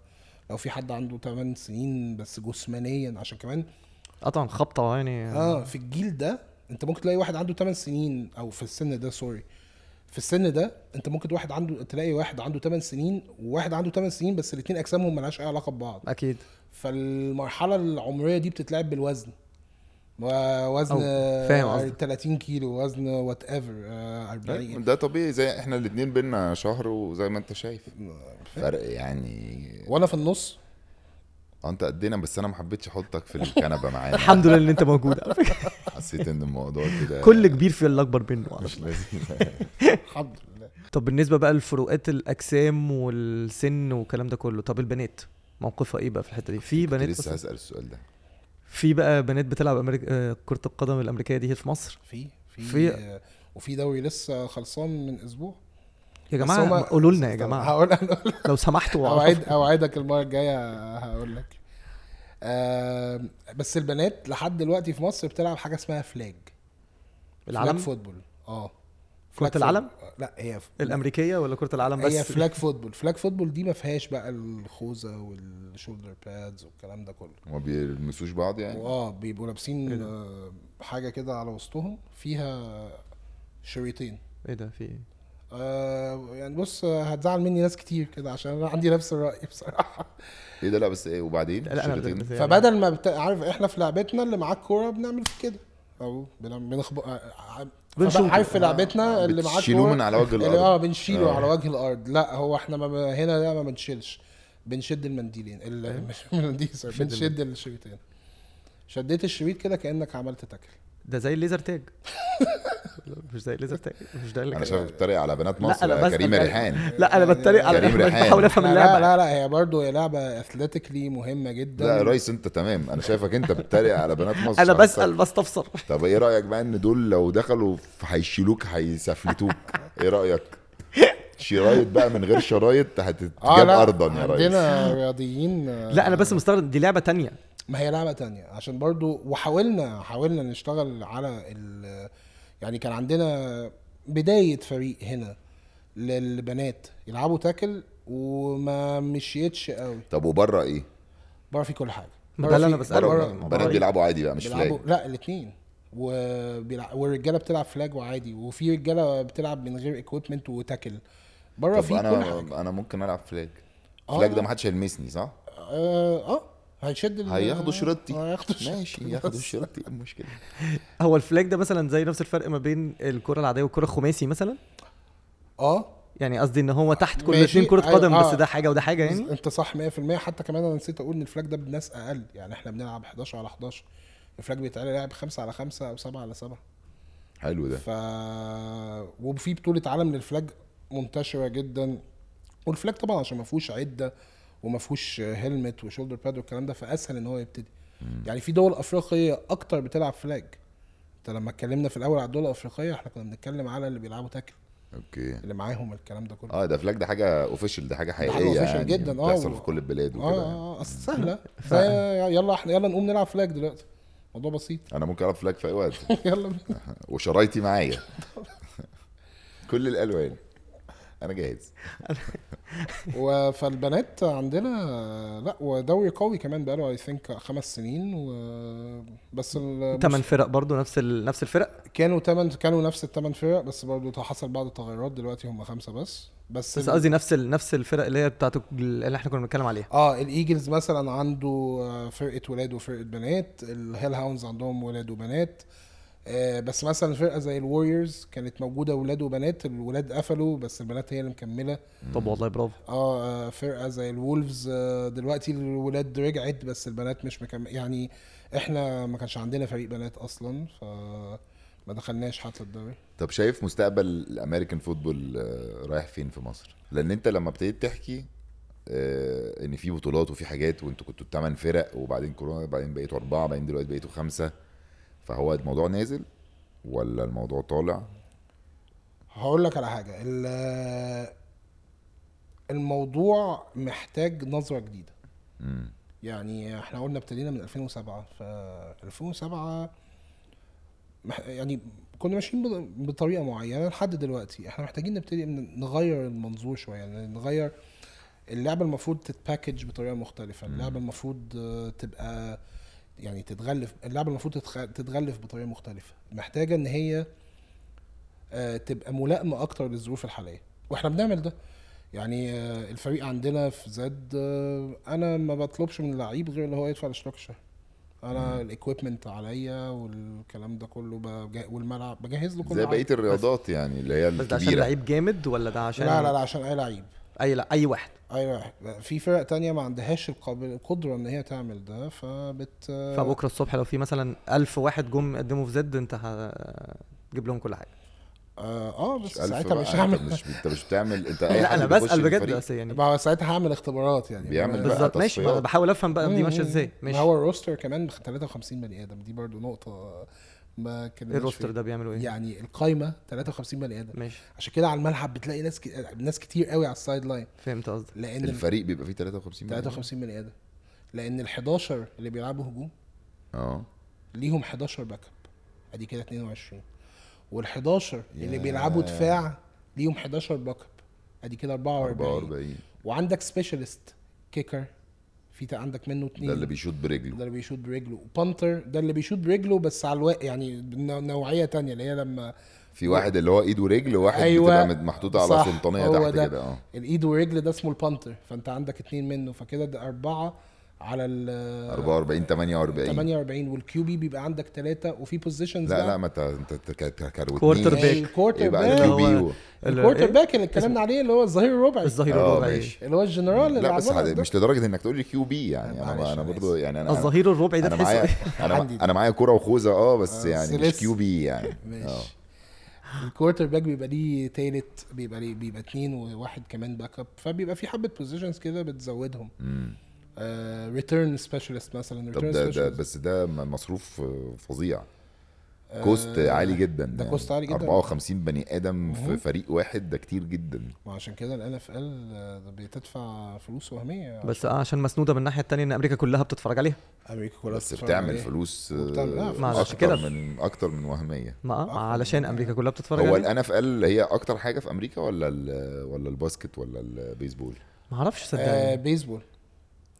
Speaker 1: لو في حد عنده 8 سنين بس جسمانيا عشان كمان
Speaker 2: قطعا اه خبطة يعني
Speaker 1: اه في الجيل ده انت ممكن تلاقي واحد عنده 8 سنين او في السن ده سوري في السن ده انت ممكن واحد عنده تلاقي واحد عنده 8 سنين وواحد عنده 8 سنين بس الاثنين اجسامهم ملهاش اي علاقه ببعض
Speaker 2: اكيد
Speaker 1: فالمرحله العمريه دي بتتلعب بالوزن ووزن
Speaker 2: أو، فاهم قصدك.
Speaker 1: 30 كيلو وزن آه، وات ايفر 40
Speaker 3: أيوة. ده طبيعي زي احنا الاثنين بينا شهر وزي ما انت شايف
Speaker 1: أيوة.
Speaker 2: أيوة.
Speaker 3: فرق يعني
Speaker 1: وانا في النص
Speaker 3: آه، انت قدنا بس انا ما حبيتش احطك في الكنبه معانا
Speaker 2: الحمد لله ان انت موجود على فكرة.
Speaker 3: حسيت ان الموضوع كده
Speaker 2: كل كبير في اللي اكبر منه
Speaker 3: مش لذيذ
Speaker 1: الحمد لله
Speaker 2: طب بالنسبة بقى لفروقات الاجسام والسن والكلام ده كله طب البنات موقفها ايه بقى في الحتة دي في
Speaker 3: كنت
Speaker 2: بنات
Speaker 3: لسه
Speaker 2: مثلاً-
Speaker 3: هسال السؤال ده
Speaker 2: في بقى بنات بتلعب أمريك... آه، كرة القدم الامريكية دي في مصر
Speaker 1: في في
Speaker 2: في-
Speaker 1: آه، وفي دوري لسه خلصان من اسبوع
Speaker 2: يا
Speaker 1: بس
Speaker 2: جماعة
Speaker 1: هما-
Speaker 2: قولوا لنا يا جماعة
Speaker 1: هقول انا
Speaker 2: لو سمحتوا
Speaker 1: اوعد اوعدك المره الجايه هقول لك آم، بس البنات لحد دلوقتي في مصر بتلعب حاجه اسمها فلاج
Speaker 2: العالم
Speaker 1: فوتبول اه
Speaker 2: كرة
Speaker 1: flag
Speaker 2: العلم؟
Speaker 1: football. لا هي ف...
Speaker 2: الامريكية ولا كرة العالم بس
Speaker 1: هي فلاج فوتبول فلاج فوتبول دي ما فيهاش بقى الخوذه والشولدر بادز والكلام ده كله
Speaker 3: ما بيلمسوش بعض يعني
Speaker 1: واه بيبقوا لابسين آه، حاجه كده على وسطهم فيها شريطين
Speaker 2: ايه ده في إيه؟
Speaker 1: آه يعني بص آه، هتزعل مني ناس كتير كده عشان انا عندي نفس الراي بصراحه
Speaker 3: ايه ده لا بس ايه وبعدين
Speaker 2: لا انا
Speaker 3: شريطين؟
Speaker 2: بس يعني-
Speaker 1: فبدل ما بت... عارف احنا في لعبتنا اللي معاه الكوره بنعمل في كده او بن- بنخبط
Speaker 2: بنشوط.
Speaker 1: آه، عارف في لعبتنا اللي معاه
Speaker 3: آه، بتشيلوه
Speaker 1: الكوره
Speaker 3: من على وجه
Speaker 1: اللي-
Speaker 3: الأرض.
Speaker 1: اه بنشيله
Speaker 3: آه.
Speaker 1: على وجه الارض لا هو احنا ما ب... هنا لا ما بنشيلش بنشد المنديلين ال...
Speaker 3: إيه؟
Speaker 1: مش المنديل sorry، بنشد الشريطين شديت الشريط كده كانك عملت تاكل
Speaker 2: ده زي الليزر تاج لا، مش زي الليزر تاج مش ده اللي
Speaker 3: انا
Speaker 2: كان-
Speaker 3: شايف بتريق على بنات
Speaker 2: لا، أنا
Speaker 3: مصر
Speaker 2: بسأل
Speaker 3: كريمه
Speaker 2: بقى.
Speaker 3: ريحان
Speaker 2: لا انا بتريق على
Speaker 3: كريم ريحان.
Speaker 2: بحاول افهم
Speaker 1: لا لا,
Speaker 2: اللعبه
Speaker 1: لا لا هي برضه هي لعبه اثليتيكلي مهمه جدا
Speaker 3: لا يا ريس انت تمام انا شايفك انت بتتريق على بنات مصر
Speaker 2: انا
Speaker 3: على
Speaker 2: بسال بستفسر
Speaker 3: السبب. طب إيه إيه ايه رايك بقى ان دول لو دخلوا في- هيشيلوك هيسفلتوك ايه رايك شرايط بقى من غير شرايط هتتجاب
Speaker 1: آه، لا،
Speaker 3: ارضا يا ريس
Speaker 1: عندنا رياضيين آه،
Speaker 2: لا انا بس مستغرب دي لعبه تانية
Speaker 1: ما هي لعبة تانية عشان برضو وحاولنا حاولنا نشتغل على ال يعني كان عندنا بداية فريق هنا للبنات يلعبوا تاكل وما مشيتش قوي
Speaker 3: طب وبره ايه؟
Speaker 1: بره في كل حاجة
Speaker 2: ما
Speaker 1: بره
Speaker 2: ده اللي
Speaker 1: في-
Speaker 2: أنا بسأله.
Speaker 1: بره-
Speaker 3: بره
Speaker 2: بره-
Speaker 3: البنات بيلعبوا عادي بقى مش
Speaker 1: بيلعبوا
Speaker 3: فلاج
Speaker 1: لا الاثنين وبيلع... والرجاله بتلعب فلاج وعادي وفي رجاله بتلعب من غير اكويبمنت وتاكل بره
Speaker 3: طب
Speaker 1: في كل
Speaker 3: انا
Speaker 1: حاجه
Speaker 3: انا ممكن العب فلاج
Speaker 1: آه.
Speaker 3: فلاج ده محدش هيلمسني صح؟
Speaker 1: اه, آه. هيشد ال-
Speaker 3: هياخدوا شريطتي
Speaker 1: آه، هياخدوا
Speaker 3: ماشي ياخدوا شريطتي ايه المشكله؟
Speaker 2: هو الفلاج ده مثلا زي نفس الفرق ما بين الكره العاديه والكره الخماسي مثلا
Speaker 1: اه
Speaker 2: يعني قصدي ان هو تحت كل
Speaker 1: ماشي،
Speaker 2: الاثنين كره
Speaker 1: أيوة،
Speaker 2: قدم
Speaker 1: آه.
Speaker 2: بس ده حاجه وده حاجه يعني
Speaker 1: انت صح 100% حتى كمان انا نسيت اقول ان الفلاج ده بناس اقل يعني احنا بنلعب 11 على 11 الفلاج بيتعمل لعب 5 على 5 او 7 على 7
Speaker 3: حلو إيه ده
Speaker 1: ف وفي بطوله عالم للفلاج منتشره جدا والفلاج طبعا عشان ما فيهوش عده وما فيهوش هيلمت وشولدر باد والكلام ده فاسهل ان هو يبتدي يعني في دول افريقيه اكتر بتلعب فلاج انت لما اتكلمنا في الاول على الدول الافريقيه احنا كنا بنتكلم على اللي بيلعبوا تاكل
Speaker 3: اوكي
Speaker 1: اللي معاهم الكلام ده كله
Speaker 3: اه ده فلاج ده حاجه اوفيشال ده حاجه
Speaker 1: حاجة
Speaker 3: حقيقيه
Speaker 1: official
Speaker 3: يعني
Speaker 1: جداً، آه.
Speaker 3: بتحصل في كل البلاد
Speaker 1: اه
Speaker 3: وكده يعني.
Speaker 1: اه اصل سهله زي- يلا احنا يلا نقوم نلعب فلاج دلوقتي موضوع بسيط
Speaker 3: انا ممكن العب فلاج في اي وقت
Speaker 1: يلا بينا.
Speaker 3: وشرايطي معايا كل الالوان انا جاهز
Speaker 1: و- فالبنات عندنا لا ودوري قوي كمان بقاله اي ثينك خمس سنين و بس ال-
Speaker 2: ثمان فرق برضو نفس ال... نفس الفرق
Speaker 1: كانوا تمن كانوا نفس الثمان فرق بس برضه حصل بعض التغيرات دلوقتي هم خمسه بس بس
Speaker 2: بس
Speaker 1: ال-
Speaker 2: قصدي نفس ال... نفس الفرق اللي هي بتاعت ال- اللي احنا كنا بنتكلم عليها
Speaker 1: اه الايجلز مثلا عنده آه، فرقه ولاد وفرقه بنات الهيل هاونز عندهم ولاد وبنات آه، بس مثلا فرقه زي الوريورز كانت موجوده ولاد وبنات الولاد قفلوا بس البنات هي اللي مكمله
Speaker 2: طب والله برافو
Speaker 1: اه آه، فرقه زي الولفز آه، دلوقتي الولاد رجعت بس البنات مش مكمله يعني احنا ما كانش عندنا فريق بنات اصلا ف ما دخلناش حتى الدوري
Speaker 3: طب شايف مستقبل الامريكان فوتبول آه، رايح فين في مصر لان انت لما ابتديت تحكي آه، ان في بطولات وفي حاجات وانتوا كنتوا الثمان فرق وبعدين كورونا بعدين بقيتوا اربعه بعدين دلوقتي بقيتوا خمسه فهو الموضوع نازل ولا الموضوع طالع
Speaker 1: هقول لك على حاجه ال- الموضوع محتاج نظره جديده
Speaker 3: مم.
Speaker 1: يعني احنا قلنا ابتدينا من 2007 ف 2007 مح- يعني كنا ماشيين بط- بطريقه معينه لحد دلوقتي احنا محتاجين نبتدي من- نغير المنظور شويه يعني نغير اللعبه المفروض تتباكج بطريقه مختلفه اللعبه المفروض آه، تبقى يعني تتغلف اللعبه المفروض تتخ- تتغلف بطريقه مختلفه محتاجه ان هي آه، تبقى ملائمه اكتر للظروف الحاليه واحنا بنعمل ده يعني آه، الفريق عندنا في زد آه، انا ما بطلبش من اللعيب غير ان هو يدفع الاشتراك الشهري انا الاكويبمنت عليا والكلام ده كله بجه... والملعب بجهز له كل
Speaker 3: زي
Speaker 1: حاجة.
Speaker 3: بقيه الرياضات يعني اللي هي
Speaker 2: بس ده عشان
Speaker 3: الكبيره
Speaker 2: لعيب جامد ولا ده عشان
Speaker 1: لا لا لا عشان اي لعيب
Speaker 2: اي لا اي واحد
Speaker 1: اي لعيب في فرق تانية ما عندهاش القابل... القدره ان هي تعمل ده فبت
Speaker 2: فبكره الصبح لو في مثلا ألف واحد جم قدموا في زد انت هتجيب لهم كل حاجه
Speaker 1: اه, آه بس
Speaker 3: مش ألف
Speaker 1: ساعتها مش
Speaker 3: بقى،
Speaker 1: هعمل
Speaker 3: انت مش انت مش بتعمل انت أي
Speaker 2: لا
Speaker 3: حد
Speaker 2: انا
Speaker 3: بيخش
Speaker 2: بسال بجد
Speaker 3: الفريق
Speaker 2: بس يعني
Speaker 1: ما هو ساعتها هعمل اختبارات يعني
Speaker 3: بيعمل
Speaker 1: أنا-
Speaker 3: بقى
Speaker 2: بالظبط ماشي ما انا
Speaker 3: تصفيات.
Speaker 2: بحاول افهم بقى دي ماشيه ازاي
Speaker 1: ماشي
Speaker 2: ماشي
Speaker 1: هو الروستر كمان 53 بني ادم دي برضو نقطه ما كان
Speaker 2: ايه الروستر ده بيعملوا
Speaker 3: إيه؟
Speaker 2: ايه
Speaker 1: يعني القايمه 53 بني ادم
Speaker 2: ماشي
Speaker 1: عشان كده على الملعب بتلاقي ناس ك... ناس كتير قوي على السايد لاين
Speaker 2: فهمت قصدك
Speaker 1: لان ال-
Speaker 3: الفريق بيبقى فيه 53 بني آدم.
Speaker 1: 53 بني ادم لان ال 11 اللي بيلعبوا هجوم
Speaker 3: اه
Speaker 1: ليهم 11 باك اب ادي كده 22 وال 11 اللي
Speaker 3: ياه.
Speaker 1: بيلعبوا دفاع ليهم 11 باك اب ادي كده 44
Speaker 3: 44
Speaker 1: وعندك سبيشالست كيكر في تا- عندك منه اتنين
Speaker 3: ده اللي بيشوط برجله
Speaker 1: ده اللي بيشوط برجله وبانتر ده اللي بيشوط برجله بس على الواقع يعني نوع- نوعيه تانية اللي هي لما
Speaker 3: في واحد اللي هو ايد ورجل وواحد
Speaker 1: أيوة.
Speaker 3: أيوة. بتبقى محطوطه على
Speaker 1: صح،
Speaker 3: سلطانيه
Speaker 1: هو
Speaker 3: تحت
Speaker 1: ده.
Speaker 3: كده اه
Speaker 1: الايد والرجل ده اسمه البانتر فانت عندك اتنين منه فكده ده اربعه على ال
Speaker 3: 44 48
Speaker 1: 48 والكيو بي بيبقى عندك ثلاثه وفي يعني بوزيشنز
Speaker 3: لا لا ما انت انت كروت
Speaker 2: Quarter back.
Speaker 1: الكوارتر
Speaker 3: ايه بقى
Speaker 1: باك
Speaker 2: اللي هو-
Speaker 3: الكيو بي
Speaker 2: ال-
Speaker 1: الكوارتر
Speaker 2: إيه؟
Speaker 1: باك اللي اتكلمنا عليه اللي هو الظهير الرباعي
Speaker 2: الظهير
Speaker 3: اه
Speaker 2: الرباعي
Speaker 3: ماشي
Speaker 1: اللي هو الجنرال اللي
Speaker 3: لا بس
Speaker 1: عملها
Speaker 3: حد-
Speaker 1: ده.
Speaker 3: مش لدرجه انك تقول لي كيو بي يعني
Speaker 1: معلش،
Speaker 3: انا انا
Speaker 1: أنا
Speaker 3: برضو يعني انا
Speaker 2: الظهير الربعي ده
Speaker 3: انا معايا
Speaker 2: تحسه إيه؟
Speaker 1: عندي
Speaker 3: انا
Speaker 1: ده.
Speaker 3: انا معايا كوره وخوذه اه بس
Speaker 1: آه،
Speaker 3: يعني مش
Speaker 1: سلس.
Speaker 3: كيو بي يعني اه
Speaker 1: ماشي الكوارتر باك بيبقى ليه تالت بيبقى ليه بيبقى اتنين وواحد كمان باك اب فبيبقى في حبه بوزيشنز كده بتزودهم آه،
Speaker 3: مم.
Speaker 1: ريتيرن سبيشالست مثلا
Speaker 3: طب
Speaker 1: ريتيرن
Speaker 3: ده, ده
Speaker 1: سبيشالست
Speaker 3: بس ده م- مصروف آه، فظيع كوست
Speaker 1: آه،
Speaker 3: عالي جدا
Speaker 1: ده
Speaker 3: يعني
Speaker 1: كوست عالي جدا.
Speaker 3: 54 بني ادم في
Speaker 1: مهم.
Speaker 3: فريق واحد ده كتير جدا
Speaker 1: ما عشان كده ال اف ال آه، بتدفع فلوس وهميه
Speaker 2: بس آه، عشان مسنوده من الناحيه التانية ان امريكا كلها بتتفرج عليها
Speaker 1: امريكا كلها
Speaker 3: بس
Speaker 1: بتتفرج
Speaker 3: بتعمل
Speaker 1: عليه.
Speaker 3: فلوس
Speaker 1: وبتعمل- آه،
Speaker 3: آه،
Speaker 1: فلوس.
Speaker 2: عشان كده.
Speaker 3: اكتر من اكتر من وهميه
Speaker 2: ما آه،
Speaker 1: آه.
Speaker 2: علشان امريكا كلها بتتفرج
Speaker 3: هو
Speaker 2: عليها
Speaker 3: الان اف ال هي اكتر حاجه في امريكا ولا ال- ولا الباسكت ولا البيسبول
Speaker 2: ما اعرفش
Speaker 1: آه
Speaker 2: صدقني
Speaker 1: بيسبول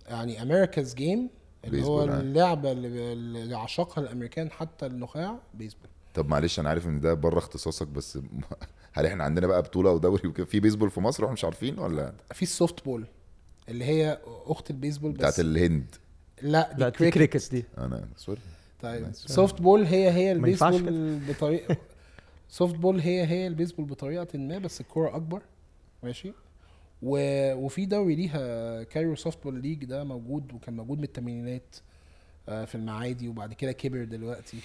Speaker 1: يعني امريكاز جيم اللي هو
Speaker 3: بيسبول، آه.
Speaker 1: اللعبه اللي اللي عشقها الامريكان حتى النخاع بيسبول
Speaker 3: طب معلش انا عارف ان ده بره اختصاصك بس هل احنا عندنا بقى بطوله ودوري وكده في بيسبول في مصر واحنا مش عارفين ولا
Speaker 1: في السوفت بول اللي هي اخت البيسبول بس
Speaker 3: بتاعت الهند
Speaker 1: لا
Speaker 2: لا
Speaker 1: دي
Speaker 2: دي
Speaker 1: كريكت
Speaker 2: كريكت دي
Speaker 3: انا سوري
Speaker 1: طيب
Speaker 3: ماشي.
Speaker 1: سوفت بول هي هي
Speaker 2: يعني ما ينفعش
Speaker 1: البيسبول بطريقه سوفت بول هي هي البيسبول بطريقه ما بس الكوره اكبر ماشي و... وفي دوري ليها كايرو سوفت بول ليج ده موجود وكان موجود من الثمانينات آه، في المعادي وبعد كده كبر دلوقتي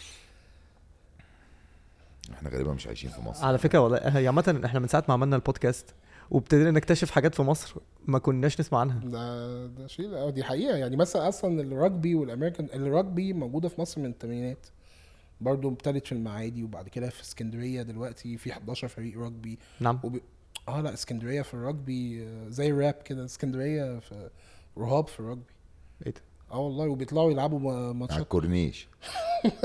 Speaker 3: احنا غالبا مش عايشين في مصر
Speaker 2: على فكره والله هي عامه احنا من ساعه ما عملنا البودكاست وابتدينا نكتشف حاجات في مصر ما كناش نسمع عنها
Speaker 1: ده ده شيء اه دي حقيقه يعني مثلا اصلا الرجبي والامريكان الرجبي موجوده في مصر من الثمانينات برضه ابتدت في المعادي وبعد كده في اسكندريه دلوقتي في 11 فريق رجبي
Speaker 2: نعم
Speaker 1: وب... اه لا اسكندريه في الرجبي آه، زي الراب كده اسكندريه في رهاب في الرجبي
Speaker 2: ايه ده
Speaker 1: اه والله وبيطلعوا يلعبوا ما-
Speaker 3: على
Speaker 1: ماتشات
Speaker 3: الكورنيش يعني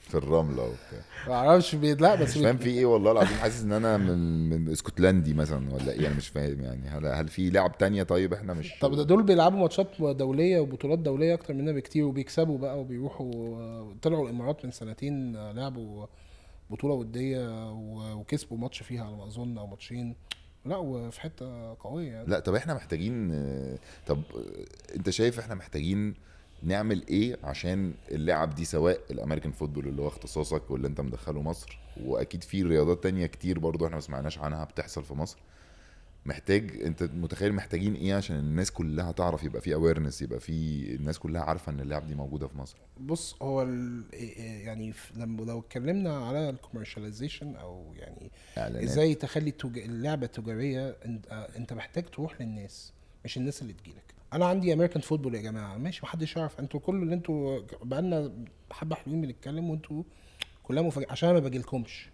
Speaker 3: في الرمله وبتاع
Speaker 1: ما اعرفش بي... لا بس
Speaker 3: مش
Speaker 1: بي...
Speaker 3: فاهم في ايه والله العظيم حاسس ان انا من من اسكتلندي مثلا ولا ايه انا مش فاهم يعني هل هل في لعب تانية طيب احنا مش
Speaker 1: طب ده دول بيلعبوا ماتشات دوليه وبطولات دوليه اكتر مننا بكتير وبيكسبوا بقى وبيروحوا آه، طلعوا الامارات من سنتين آه، لعبوا بطوله وديه و... وكسبوا ماتش فيها على ما اظن او ماتشين لا وفي حته قويه يعني
Speaker 3: لا طب احنا محتاجين آه، طب آه، انت شايف احنا محتاجين نعمل ايه عشان اللعب دي سواء الامريكان فوتبول اللي هو اختصاصك واللي انت مدخله مصر واكيد في رياضات تانية كتير برضو احنا ما سمعناش عنها بتحصل في مصر محتاج انت متخيل محتاجين ايه عشان الناس كلها تعرف يبقى في اويرنس يبقى في الناس كلها عارفه ان اللعب دي موجوده في مصر
Speaker 1: بص هو ال... إيه- إيه يعني ف- لما لو اتكلمنا على الكوميرشاليزيشن او يعني
Speaker 3: اعلانات
Speaker 1: ازاي تخلي التج... اللعبه تجاريه انت... آه، انت محتاج تروح للناس مش الناس اللي تجيلك انا عندي امريكان فوتبول يا جماعه ماشي محدش يعرف انتوا كل اللي انتوا بقالنا حبه حلوين بنتكلم وانتوا كلها مفاجاه عشان انا ما باجيلكمش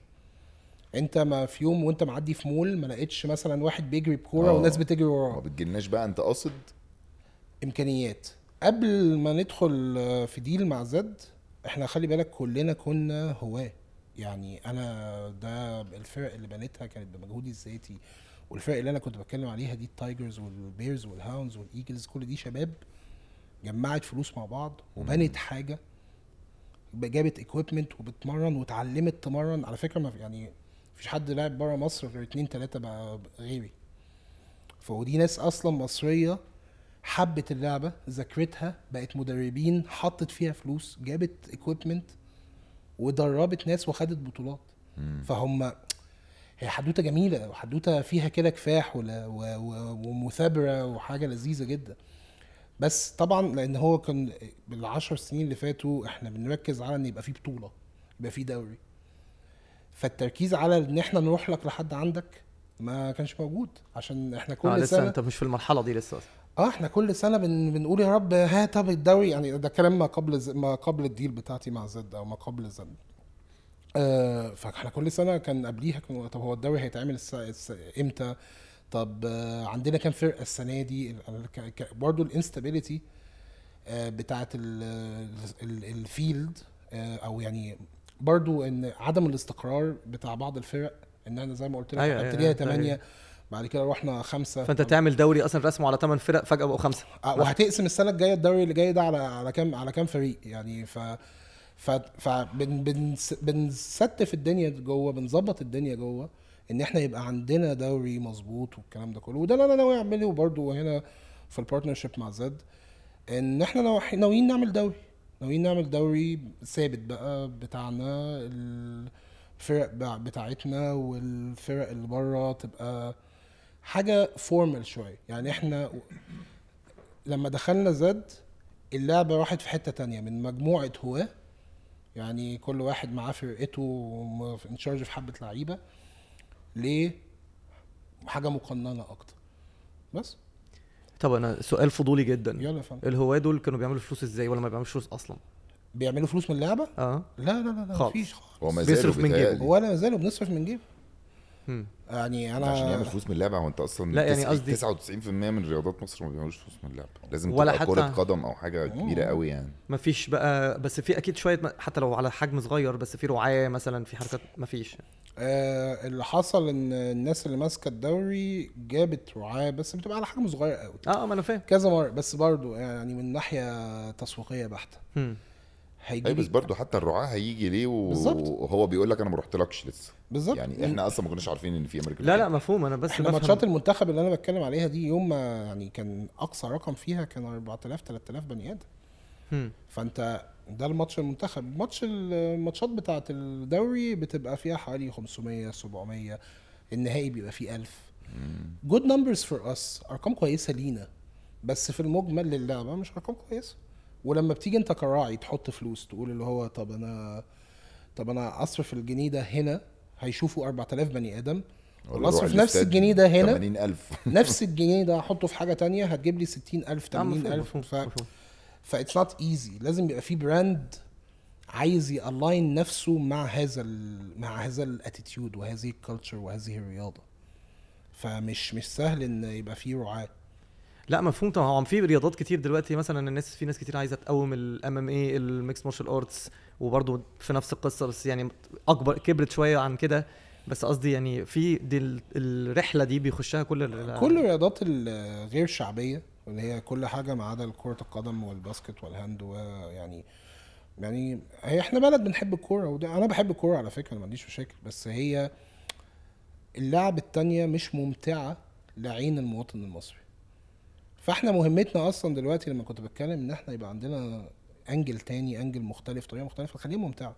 Speaker 1: انت ما في يوم وانت معدي في مول ما لقيتش مثلا واحد بيجري بكوره
Speaker 3: آه.
Speaker 1: والناس بتجري وراه
Speaker 3: ما بتجيلناش بقى انت قاصد
Speaker 1: امكانيات قبل ما ندخل آه، في ديل مع زد احنا خلي بالك كلنا كنا هواه يعني انا ده الفرق اللي بنيتها كانت بمجهودي الذاتي والفرق اللي انا كنت بتكلم عليها دي التايجرز والبيرز والهاونز والايجلز كل دي شباب جمعت فلوس مع بعض وبنت حاجه جابت اكويبمنت وبتمرن واتعلمت تمرن على فكره ما في- يعني مفيش حد لاعب بره مصر غير اتنين تلاته بقى غيري فودي ناس اصلا مصريه حبت اللعبه ذاكرتها بقت مدربين حطت فيها فلوس جابت اكويبمنت ودربت ناس وخدت بطولات فهم هي حدوته جميله وحدوته فيها كده كفاح ولا- و- و- ومثابره وحاجه لذيذه جدا بس طبعا لان هو كان بالعشر سنين اللي فاتوا احنا بنركز على ان يبقى في بطوله يبقى في دوري فالتركيز على ان احنا نروح لك لحد عندك ما كانش موجود عشان احنا كل
Speaker 2: آه لسه
Speaker 1: سنه
Speaker 2: انت مش في المرحله دي لسه أصلاً.
Speaker 1: اه احنا كل سنه بن... بنقول يا رب ها طب الدوري يعني ده كلام ما قبل ز... ما قبل الديل بتاعتي مع زد او ما قبل زد آه فاحنا كل سنه كان قبليها كان... طب هو الدوري هيتعمل الس... الس... امتى طب آه عندنا كام فرقه السنه دي ال... ال... ك... ك... برضه الانستابيليتي آه بتاعه ال... ال... الفيلد آه او يعني برضه ان عدم الاستقرار بتاع بعض الفرق ان احنا زي ما قلت لك
Speaker 2: أيوة،
Speaker 1: احنا
Speaker 2: أيوة،
Speaker 1: ابتدينا
Speaker 2: أيوة.
Speaker 1: 8 بعد كده رحنا خمسه
Speaker 2: فانت تعمل دوري اصلا رسمه على 8 فرق فجاه بقوا خمسه
Speaker 1: آه، وهتقسم السنه الجايه الدوري اللي جاي ده على على كام على كام فريق يعني ف ف ف بن بن بنستف الدنيا جوه بنظبط الدنيا جوه ان احنا يبقى عندنا دوري مظبوط والكلام ده كله وده اللي انا ناوي اعمله برضو هنا في البارتنرشيب مع زد ان احنا ناوح- ناويين نعمل دوري ناويين نعمل دوري ثابت بقى بتاعنا الفرق بع- بتاعتنا والفرق اللي بره تبقى حاجه فورمال شويه يعني احنا لما دخلنا زد اللعبة راحت في حتة تانية من مجموعة هواة يعني كل واحد معاه فرقته وانشارج في حبة لعيبة ليه حاجة مقننة أكتر بس
Speaker 2: طب انا سؤال فضولي جدا
Speaker 1: يلا يا فندم
Speaker 2: الهواه دول كانوا بيعملوا فلوس ازاي ولا ما بيعملوش فلوس اصلا
Speaker 1: بيعملوا فلوس من اللعبه
Speaker 2: اه
Speaker 1: لا لا لا لا
Speaker 2: خالص.
Speaker 1: مفيش خالص
Speaker 3: هو ما
Speaker 2: بيصرف من
Speaker 3: زالوا
Speaker 2: جيبه.
Speaker 3: بيتهيألي.
Speaker 1: ولا ما زالوا بنصرف من جيب
Speaker 2: مم.
Speaker 1: يعني انا
Speaker 3: عشان يعمل فلوس من اللعبه هو انت اصلا
Speaker 2: لا، يعني
Speaker 3: تسعة-
Speaker 2: قصدي-
Speaker 3: 99% من رياضات مصر ما بيعملوش فلوس من اللعبه لازم
Speaker 2: ولا
Speaker 3: ولا تبقى
Speaker 2: حتى-
Speaker 3: كره قدم او
Speaker 1: آه،
Speaker 3: حاجه كبيره قوي يعني
Speaker 2: مفيش بقى بس في اكيد شويه م- حتى لو على حجم صغير بس في رعايه مثلا في حركات مفيش
Speaker 1: آه اللي حصل ان الناس اللي ماسكه الدوري جابت رعاه بس بتبقى على حجم صغير قوي
Speaker 3: آه.
Speaker 2: اه ما انا فاهم
Speaker 1: كذا مره بس برضه يعني من ناحيه تسويقيه بحته
Speaker 2: مم.
Speaker 3: اي أيوة، بس
Speaker 1: هيجيب
Speaker 3: برضه حتى الرعاه هيجي ليه و-
Speaker 1: بالظبط.
Speaker 3: وهو بيقول لك انا ما رحتلكش لسه
Speaker 1: بالظبط
Speaker 3: يعني احنا اصلا ما كناش عارفين ان في امريكا
Speaker 2: لا لا مفهوم انا بس
Speaker 1: احنا
Speaker 2: بفهم.
Speaker 1: ماتشات المنتخب اللي انا بتكلم عليها دي يوم ما يعني كان اقصى رقم فيها كان 4000 3000 بني ادم
Speaker 2: مم.
Speaker 1: فانت ده الماتش المنتخب ماتش الماتشات بتاعه الدوري بتبقى فيها حوالي 500 700 النهائي بيبقى فيه 1000 جود نمبرز فور اس ارقام كويسه لينا بس في المجمل للعبه مش ارقام كويسه ولما بتيجي انت كراعي تحط فلوس تقول اللي هو طب انا طب انا اصرف الجنيه ده هنا هيشوفوا 4000 بني ادم
Speaker 3: ولا
Speaker 1: والاصرف
Speaker 3: روح
Speaker 1: نفس
Speaker 3: الاستاد
Speaker 1: الجنيه ده هنا.
Speaker 3: 80000
Speaker 1: نفس الجنيه ده احطه في حاجه تانية هتجيب لي 60000
Speaker 2: آه، مفهوم
Speaker 1: 80000
Speaker 2: مفهوم
Speaker 1: ف...
Speaker 2: مفهوم
Speaker 1: فاتس نوت ايزي لازم يبقى في براند عايز يالاين نفسه مع هذا ال... مع هذا الاتيتيود وهذه الكالتشر وهذه الرياضه فمش مش سهل ان يبقى في رعاه
Speaker 2: لا مفهوم طبعا هو في رياضات كتير دلوقتي مثلا الناس في ناس كتير عايزه تقوم الام ام اي إيه، الميكس مارشال ارتس وبرضه في نفس القصه بس يعني اكبر كبرت شويه عن كده بس قصدي يعني في دي ال- الرحله دي بيخشها كل ال-
Speaker 1: كل الرياضات الغير شعبيه اللي هي كل حاجه ما عدا كره القدم والباسكت والهاند ويعني يعني هي احنا بلد بنحب الكوره وده انا بحب الكوره على فكره أنا ما عنديش مشاكل بس هي اللعب التانية مش ممتعه لعين المواطن المصري فاحنا مهمتنا اصلا دلوقتي لما كنت بتكلم ان احنا يبقى عندنا انجل تاني انجل مختلف طريقه مختلفه خليها ممتعه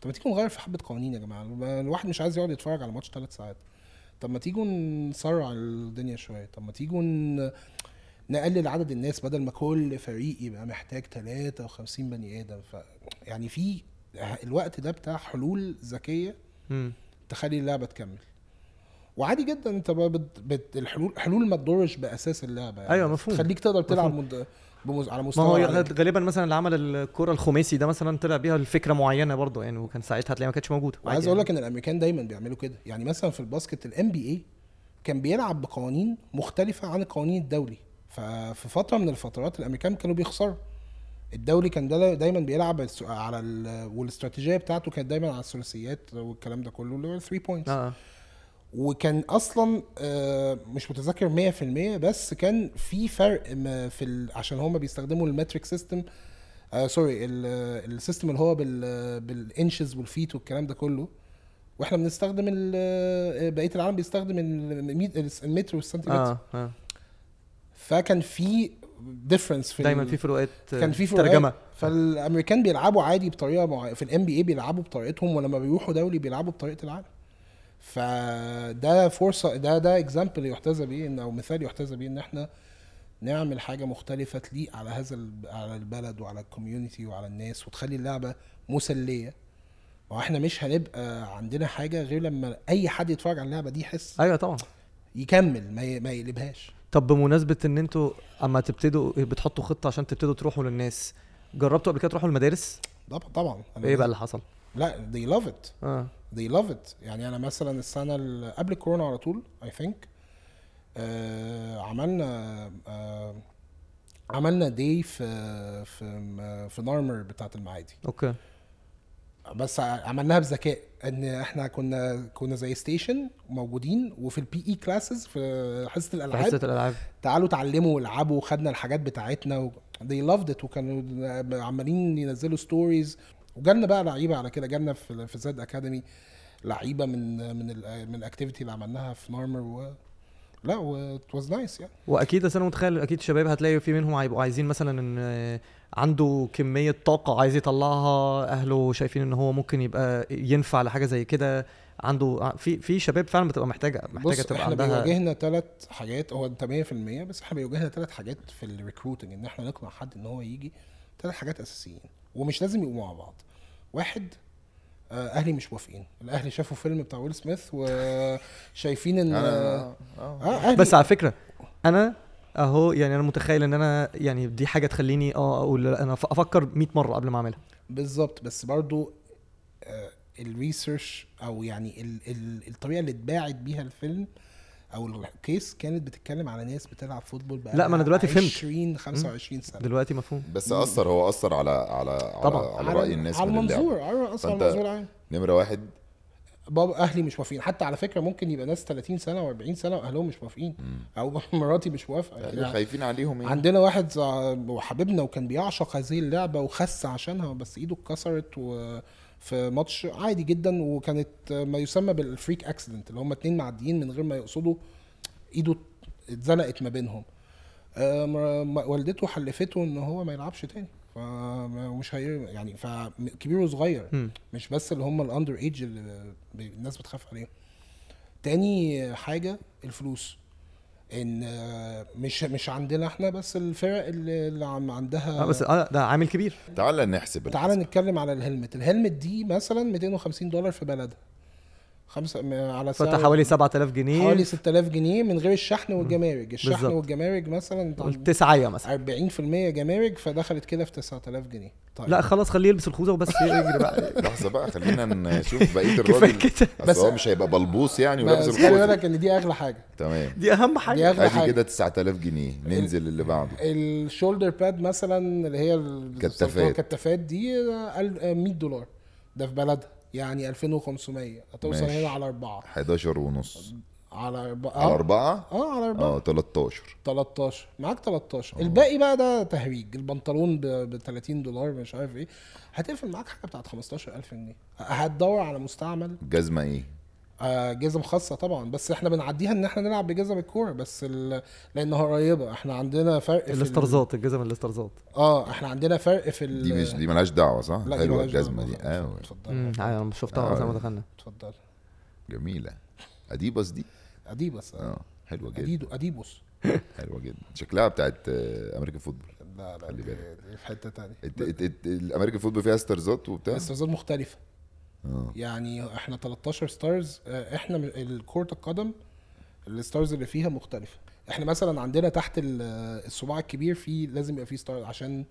Speaker 1: طب ما تيجوا نغير في حبه قوانين يا جماعه الواحد مش عايز يقعد يتفرج على ماتش ثلاث ساعات طب ما تيجوا نسرع الدنيا شويه طب ما تيجوا ن- نقلل عدد الناس بدل ما كل فريق يبقى محتاج 53 بني ادم ف يعني في الوقت ده بتاع حلول ذكيه
Speaker 2: مم.
Speaker 1: تخلي اللعبه تكمل وعادي جدا انت بقى بت... بت... الحلول حلول ما تضرش باساس اللعبه يعني
Speaker 2: أيوة، مفهوم.
Speaker 1: تخليك تقدر تلعب
Speaker 2: مفهوم.
Speaker 1: مد... بمز... على
Speaker 2: ما
Speaker 1: مستوى
Speaker 2: هو
Speaker 1: عالي.
Speaker 2: غالبا مثلا اللي عمل الكره الخماسي ده مثلا طلع بيها الفكره معينه برضه يعني وكان ساعتها هتلاقيها ما كانتش موجوده
Speaker 1: وعايز اقول لك ان الامريكان دايما بيعملوا كده يعني مثلا في الباسكت الام بي اي كان بيلعب بقوانين مختلفه عن القوانين الدولي ففي فتره من الفترات الامريكان كانوا بيخسروا الدولي كان دايما- دايما بيلعب الس- على ال... والاستراتيجيه بتاعته كانت دايما على الثلاثيات والكلام ده كله اللي هو 3 بوينتس
Speaker 2: اه
Speaker 1: وكان اصلا آه، مش متذكر 100% بس كان في فرق ما في ال... عشان هما بيستخدموا المتريك سيستم آه سوري ال- آه، السيستم اللي هو بال... بالانشز والفيت والكلام ده كله واحنا بنستخدم ال... آه، بقيه العالم بيستخدم ال- المتر والسنتيمتر آه.
Speaker 2: اه اه
Speaker 1: فكان في ديفرنس في
Speaker 2: دايما
Speaker 1: ال-
Speaker 2: في فروقات آه،
Speaker 1: كان في فروقات.
Speaker 2: ترجمه
Speaker 1: فالامريكان بيلعبوا عادي بطريقه مع... في الام بي اي بيلعبوا بطريقتهم ولما بيروحوا دولي بيلعبوا بطريقه العالم فده فرصه ده ده اكزامبل يحتذى بيه إن- او مثال يحتذى بيه ان احنا نعمل حاجه مختلفه تليق على هذا ال- على البلد وعلى الكوميونتي وعلى الناس وتخلي اللعبه مسليه ما هو احنا مش هنبقى عندنا حاجه غير لما اي حد يتفرج على اللعبه دي يحس
Speaker 2: ايوه طبعا
Speaker 1: يكمل ما ي- ما يقلبهاش
Speaker 2: طب بمناسبه ان انتوا اما تبتدوا بتحطوا خطه عشان تبتدوا تروحوا للناس جربتوا قبل كده تروحوا المدارس
Speaker 1: طبعا طبعا أنا آه.
Speaker 2: ايه بقى اللي حصل
Speaker 1: لا they love it
Speaker 2: اه
Speaker 1: they love it يعني انا مثلا السنه ال- قبل الكورونا على طول اي ثينك عملنا آه عملنا دي في في م- في نارمر بتاعه المعادي
Speaker 2: اوكي
Speaker 1: بس ع- عملناها بذكاء ان احنا كنا كنا زي ستيشن موجودين وفي البي اي كلاسز في حصه الالعاب
Speaker 2: حصه الالعاب
Speaker 1: تعالوا اتعلموا والعبوا وخدنا الحاجات بتاعتنا و... they loved it وكانوا عمالين ينزلوا ستوريز وجالنا بقى لعيبه على كده جالنا في في زاد اكاديمي لعيبه من من ال من الاكتيفيتي اللي عملناها في نارمر و لا و it was nice يعني
Speaker 2: واكيد أصل انا متخيل اكيد شباب هتلاقي في منهم هيبقوا عايزين مثلا ان آه، عنده كميه طاقه عايز يطلعها اهله شايفين ان هو ممكن يبقى ينفع لحاجه زي كده عنده ع- في في شباب فعلا بتبقى محتاجه محتاجه
Speaker 1: بص
Speaker 2: تبقى
Speaker 1: احنا
Speaker 2: عندها
Speaker 1: بيواجهنا ثلاث حاجات هو انت 100% بس احنا بيواجهنا ثلاث حاجات في الريكروتنج ان احنا نقنع حد ان هو يجي ثلاث حاجات اساسيين ومش لازم يبقوا مع بعض واحد آه، اهلي مش موافقين الاهلي شافوا فيلم بتاع ويل سميث وشايفين ان
Speaker 3: انا
Speaker 1: اه أهلي
Speaker 2: بس على فكره انا اهو يعني انا متخيل ان انا يعني دي حاجه تخليني اه اقول لا انا أف- افكر 100 مره قبل ما اعملها
Speaker 1: بالظبط بس برضو آه، الريسيرش او يعني ال ال الطريقه اللي اتباعت بيها الفيلم او الكيس كانت بتتكلم على ناس بتلعب فوتبول بقى
Speaker 2: لا، ما أنا دلوقتي فهمت.
Speaker 1: 20 25 سنه
Speaker 2: دلوقتي مفهوم
Speaker 3: بس اثر هو اثر على على
Speaker 2: طبعاً.
Speaker 3: على, على راي الناس
Speaker 1: على
Speaker 3: من اللعبة.
Speaker 1: المنظور على اصلا
Speaker 3: فأنت-
Speaker 1: المنظور عام
Speaker 3: نمره واحد
Speaker 1: بابا اهلي مش موافقين حتى على فكره ممكن يبقى ناس 30 سنه و40 سنه واهلهم مش موافقين او مراتي مش موافقه
Speaker 3: احنا
Speaker 1: يعني
Speaker 3: خايفين عليهم يعني
Speaker 1: عندنا واحد زع- حبيبنا وكان بيعشق هذه اللعبه وخس عشانها بس ايده اتكسرت و في ماتش عادي جدا وكانت ما يسمى بالفريك اكسيدنت اللي هم اتنين معديين من غير ما يقصدوا ايده اتزنقت ما بينهم آه، مر- م- والدته حلفته ان هو ما يلعبش تاني فمش هي يعني فكبير وصغير
Speaker 2: مم.
Speaker 1: مش بس اللي هم الاندر ايج اللي ب- الناس بتخاف عليهم تاني حاجه الفلوس ان آه، مش مش عندنا احنا بس الفرق اللي اللي عم-
Speaker 2: آه
Speaker 1: عندها
Speaker 2: بس اه ده عامل كبير
Speaker 3: تعالى نحسب
Speaker 1: تعالى نتكلم على الهلمت الهلمت دي مثلا 250 دولار في بلدها خمسة م- على
Speaker 2: فانت
Speaker 1: سعر-
Speaker 2: حوالي 7000 جنيه
Speaker 1: حوالي 6000 جنيه من غير الشحن والجمارك الشحن
Speaker 2: بالظبط.
Speaker 1: والجمارك مثلا انت
Speaker 2: قول تسعية مثلا
Speaker 1: 40% جمارك فدخلت كده في 9000 جنيه طيب
Speaker 2: لا خلاص خليه يلبس الخوذه وبس يجري بقى
Speaker 3: لحظه بقى خلينا نشوف بقيه
Speaker 2: كفايه
Speaker 3: الراجل
Speaker 2: كده
Speaker 3: بس
Speaker 1: بس-
Speaker 3: هو مش هيبقى بلبوس يعني ولابس
Speaker 1: بس خلي
Speaker 3: الخوذه
Speaker 1: بالك ان دي اغلى حاجه
Speaker 3: تمام
Speaker 2: دي اهم حاجه
Speaker 1: دي أغلى
Speaker 3: ادي
Speaker 1: حاجة. إيه؟
Speaker 3: كده 9000 جنيه ننزل اللي بعده
Speaker 1: الشولدر باد مثلا اللي هي ال-
Speaker 3: كتافات.
Speaker 1: الكتافات دي آه، ال- آه، 100 دولار ده في بلدها يعني 2500 هتوصل
Speaker 3: ماشي.
Speaker 1: هنا على اربعه
Speaker 3: 11 ونص
Speaker 1: على اربعه
Speaker 3: على
Speaker 1: اه
Speaker 3: أربعة
Speaker 1: آه، على اربعه
Speaker 3: اه 13
Speaker 1: 13 معاك
Speaker 3: آه.
Speaker 1: 13 الباقي بقى ده تهويج البنطلون ب 30 دولار مش عارف ايه هتقفل معاك حاجه بتاعت 15000 جنيه هتدور على مستعمل
Speaker 3: الجزمه ايه؟
Speaker 1: آه، جزم خاصه طبعا بس احنا بنعديها ان احنا نلعب بجزم الكوره بس ال... لانها قريبه احنا عندنا فرق في ال-
Speaker 2: الاسترزات الجزم الاسترزات
Speaker 1: اه احنا عندنا فرق في ال...
Speaker 3: دي مش دي مالهاش دعوه صح؟
Speaker 1: لا دي مالهاش
Speaker 3: حلوه
Speaker 1: دعوة
Speaker 3: الجزمه آه، دي آه،
Speaker 1: بالظبط.
Speaker 3: قوي
Speaker 1: اتفضل
Speaker 2: امم انا شفتها
Speaker 1: آه.
Speaker 2: زي ما دخلنا
Speaker 1: اتفضل
Speaker 3: جميله اديبس دي
Speaker 1: اديبس آه.
Speaker 3: اه حلوه جدا
Speaker 1: اديدو اديبوس
Speaker 3: حلوه جدا شكلها بتاعت آه، امريكان فوتبول
Speaker 1: لا لا
Speaker 3: خلي
Speaker 1: دي-
Speaker 3: بالك.
Speaker 1: دي في حته تانية
Speaker 3: الت- الت- الت- الامريكان فوتبول فيها ستارزات وبتاع
Speaker 1: بس ستارزات مختلفه
Speaker 3: اه
Speaker 1: يعني احنا 13 ستارز آه، احنا م- ال- كرة القدم الستارز اللي فيها مختلفة احنا مثلا عندنا تحت ال- آه، الصباع الكبير في لازم يبقى فيه ستار عشان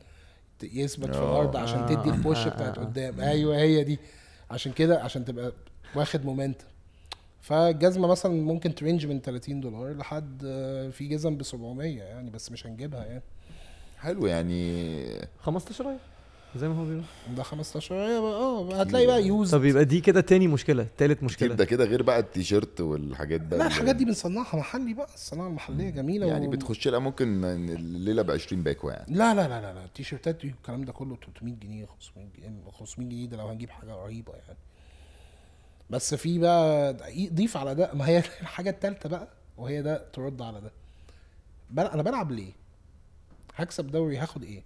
Speaker 1: ت- يثبت في
Speaker 3: آه.
Speaker 1: الارض عشان
Speaker 2: آه،
Speaker 1: تدي
Speaker 2: آه،
Speaker 1: البوش
Speaker 2: آه،
Speaker 1: بتاعت
Speaker 2: آه.
Speaker 1: قدام ايوه هي دي عشان كده عشان تبقى واخد مومنتم فالجزمه مثلا ممكن ترينج من 30 دولار لحد آه، في جزم ب 700 يعني بس مش هنجيبها يعني
Speaker 3: حلو يعني
Speaker 2: 15 ايوه زي ما هو بيقول
Speaker 1: ده 15 هي بقى- اه هتلاقي بقى يوز
Speaker 2: طب يبقى دي كده تاني مشكله تالت مشكله
Speaker 3: تبدا كده غير بقى التيشيرت والحاجات بقى
Speaker 1: لا
Speaker 3: اللي-
Speaker 1: الحاجات دي بنصنعها محلي بقى الصناعه المحليه جميله
Speaker 3: يعني
Speaker 1: و-
Speaker 3: بتخش لها ممكن الليله ب 20 باكو يعني
Speaker 1: لا لا لا لا لا التيشيرتات دي والكلام ده كله 300 جنيه 500 جنيه 500 جنيه ده لو هنجيب حاجه رهيبه يعني بس في بقى دقيق- ضيف على ده ما هي الحاجه التالته بقى وهي ده ترد على ده بل انا بلعب ليه؟ هكسب دوري هاخد ايه؟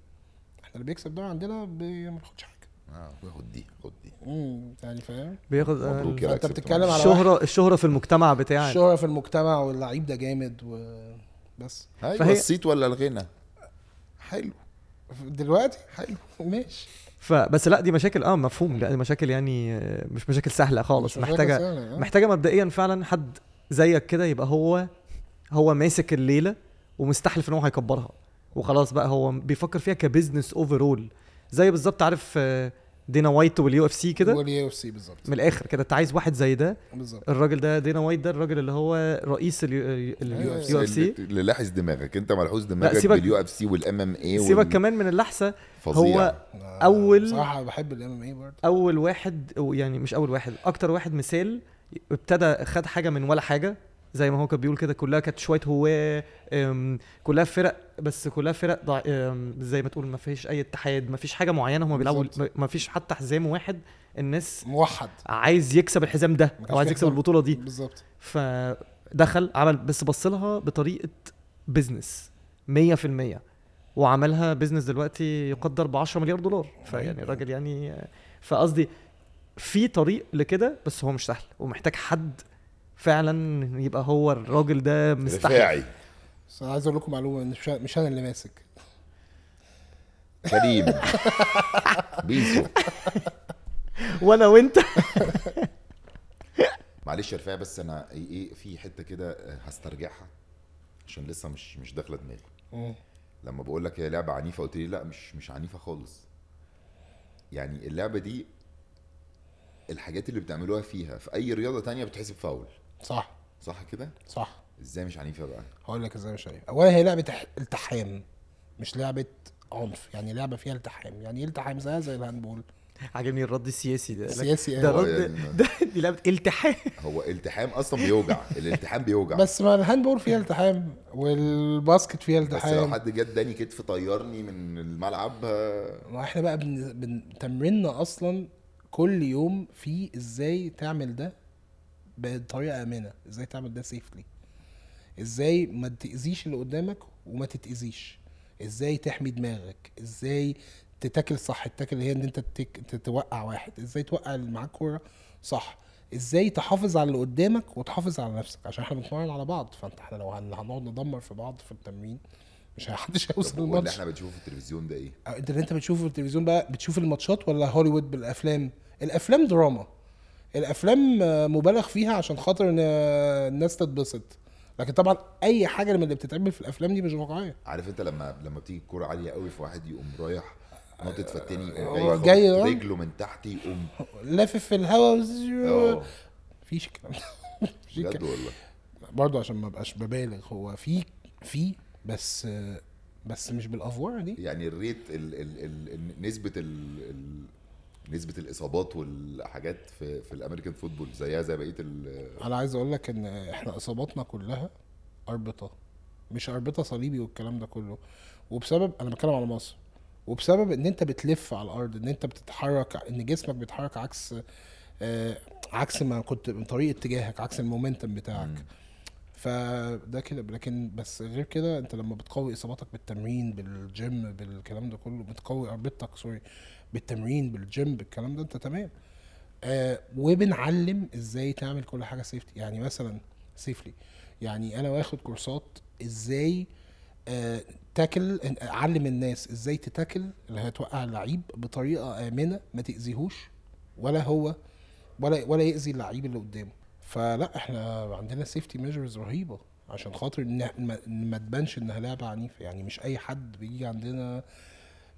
Speaker 1: احنا اللي بيكسب دوري عندنا بي- ما بياخدش حاجه
Speaker 3: اه خد دي خد دي
Speaker 1: امم يعني فاهم؟
Speaker 2: بياخد آه،
Speaker 3: مبروك يعني. يا
Speaker 1: فانت
Speaker 3: أكسب
Speaker 1: بتتكلم على واحد
Speaker 2: الشهره الشهره في المجتمع بتاعك
Speaker 1: الشهره في المجتمع واللعيب ده جامد و بس
Speaker 3: ايوه
Speaker 2: فهي-
Speaker 3: الصيت ولا الغنى حلو
Speaker 1: دلوقتي حلو ماشي
Speaker 2: فبس لا دي مشاكل اه مفهوم لا دي مشاكل يعني آه، مش مشاكل سهله خالص
Speaker 1: مش مشاكل
Speaker 2: محتاجه
Speaker 1: سهلة، آه.
Speaker 2: محتاجه مبدئيا فعلا حد زيك كده يبقى هو هو ماسك الليله ومستحلف ان هو هيكبرها وخلاص بقى هو بيفكر فيها كبزنس اوفرول زي بالظبط عارف آه، دينا وايت واليو اف سي كده
Speaker 1: واليو اف سي بالظبط
Speaker 2: من الاخر كده انت عايز واحد زي ده
Speaker 1: بالظبط
Speaker 2: الراجل ده دينا وايت ده الراجل اللي هو رئيس اليو
Speaker 1: أيوة.
Speaker 2: اف يو اف سي
Speaker 3: اللي لاحظ دماغك انت ملحوظ دماغك
Speaker 2: سيبك-
Speaker 3: باليو اف سي والام ام اي
Speaker 2: سيبك كمان من اللحسه هو
Speaker 1: أنا
Speaker 2: أول-
Speaker 1: بصراحه بحب الام ام اي برضه
Speaker 2: اول واحد أو يعني مش اول واحد اكتر واحد مثال ابتدى خد حاجه من ولا حاجه زي ما هو كان بيقول كده كلها كانت شويه هواه أم، كلها فرق بس كلها فرق ضع... أم، زي ما تقول ما فيش اي اتحاد ما فيش حاجه معينه هم بيلعبوا
Speaker 1: بالظبط.
Speaker 2: ما فيش حتى حزام واحد الناس
Speaker 1: موحد
Speaker 2: عايز يكسب الحزام ده
Speaker 1: ما كانش
Speaker 2: او عايز
Speaker 1: في
Speaker 2: يكسب
Speaker 1: حزام.
Speaker 2: البطوله دي
Speaker 1: بالظبط
Speaker 2: فدخل عمل بس بص لها بطريقه بزنس 100% وعملها بزنس دلوقتي يقدر ب 10 مليار دولار فيعني الراجل يعني فقصدي في طريق لكده بس هو مش سهل ومحتاج حد فعلا يبقى هو الراجل ده مستحيل
Speaker 3: رفاعي
Speaker 1: بس انا عايز اقول لكم معلومه إن مش مش انا اللي ماسك
Speaker 3: كريم بيزو
Speaker 2: وانا وانت
Speaker 3: إيه، معلش يا رفاعي بس انا ايه إيه، في حته كده آه، هسترجعها عشان لسه مش مش داخله دماغي
Speaker 1: مم.
Speaker 3: لما بقول لك هي لعبه عنيفه قلت لي لا مش مش عنيفه خالص يعني اللعبه دي الحاجات اللي بتعملوها فيها في اي رياضه تانية بتحسب فاول
Speaker 1: صح
Speaker 3: صح كده
Speaker 1: صح
Speaker 3: ازاي مش عنيفه بقى
Speaker 1: هقول لك ازاي مش عارف اولا هي لعبه تح- التحام مش لعبه عنف يعني لعبه فيها التحام يعني ايه التحام زيها زي الهاندبول
Speaker 2: عاجبني الرد السياسي ده
Speaker 1: سياسي
Speaker 2: ده
Speaker 1: يعني. آه،
Speaker 3: هو
Speaker 2: رد
Speaker 3: يعني-
Speaker 2: ده دي لعبه التحام
Speaker 3: هو التحام اصلا بيوجع الالتحام بيوجع بس,
Speaker 1: بس ما الهاندبول فيها التحام والباسكت فيها
Speaker 3: بس لو
Speaker 1: التحام
Speaker 3: حد جه اداني كتف طيرني من الملعب ها-
Speaker 1: ما احنا بقى بن... بن... تمريننا اصلا كل يوم في ازاي تعمل ده بطريقه امنه ازاي تعمل ده سيفلي ازاي ما تاذيش اللي قدامك وما تتاذيش ازاي تحمي دماغك ازاي تتاكل صح التاكل هي ان انت تك... تتوقع واحد ازاي توقع اللي معاك كوره صح ازاي تحافظ على اللي قدامك وتحافظ على نفسك عشان احنا بنتمرن على بعض فانت احنا لو هن- هنقعد ندمر في بعض في التمرين مش محدش هيوصل
Speaker 3: هو اللي
Speaker 1: الماتش
Speaker 3: احنا بنشوفه في التلفزيون ده ايه؟
Speaker 1: أو انت اللي انت بتشوفه في التلفزيون بقى بتشوف الماتشات ولا هوليوود بالافلام الافلام دراما الافلام آه، مبالغ فيها عشان خاطر ان آه، الناس تتبسط لكن طبعا اي حاجه من اللي بتتعمل في الافلام دي مش واقعيه
Speaker 3: عارف انت لما لما بتيجي الكوره عاليه قوي في واحد يقوم رايح ناطط فالتاني
Speaker 1: هو
Speaker 3: يقوم
Speaker 1: جاي،
Speaker 3: جاي
Speaker 1: اه.
Speaker 3: خبط رجله من تحت يقوم
Speaker 1: لافف في الهواء
Speaker 3: اه
Speaker 1: مفيش الكلام ده مفيش
Speaker 3: بجد
Speaker 1: الكلام
Speaker 3: والله
Speaker 1: برضه عشان ما ابقاش ببالغ هو في في بس آه، بس مش بالافوار دي
Speaker 3: يعني الريت ال ال ال ال- نسبه ال ال نسبه الاصابات والحاجات في في الامريكان فوتبول زيها زي بقيه ال-
Speaker 1: انا عايز اقول لك ان احنا اصاباتنا كلها اربطه مش اربطه صليبي والكلام ده كله وبسبب انا بتكلم على مصر وبسبب ان انت بتلف على الارض ان انت بتتحرك ان جسمك بيتحرك عكس آه عكس ما كنت من طريق اتجاهك عكس المومنتم بتاعك فده كده لكن بس غير كده انت لما بتقوي اصاباتك بالتمرين بالجيم بالكلام ده كله بتقوي اربطتك سوري بالتمرين بالجيم بالكلام ده انت تمام آه وبنعلم ازاي تعمل كل حاجه سيفتي يعني مثلا سيفلي يعني انا واخد كورسات ازاي آه تاكل إن- اعلم الناس ازاي تتاكل اللي هتوقع اللعيب بطريقه امنه ما تاذيهوش ولا هو ولا ولا ياذي اللعيب اللي قدامه فلا احنا عندنا سيفتي ميجرز رهيبه عشان خاطر إن ما, إن ما تبانش انها لعبه عنيفه يعني مش اي حد بيجي عندنا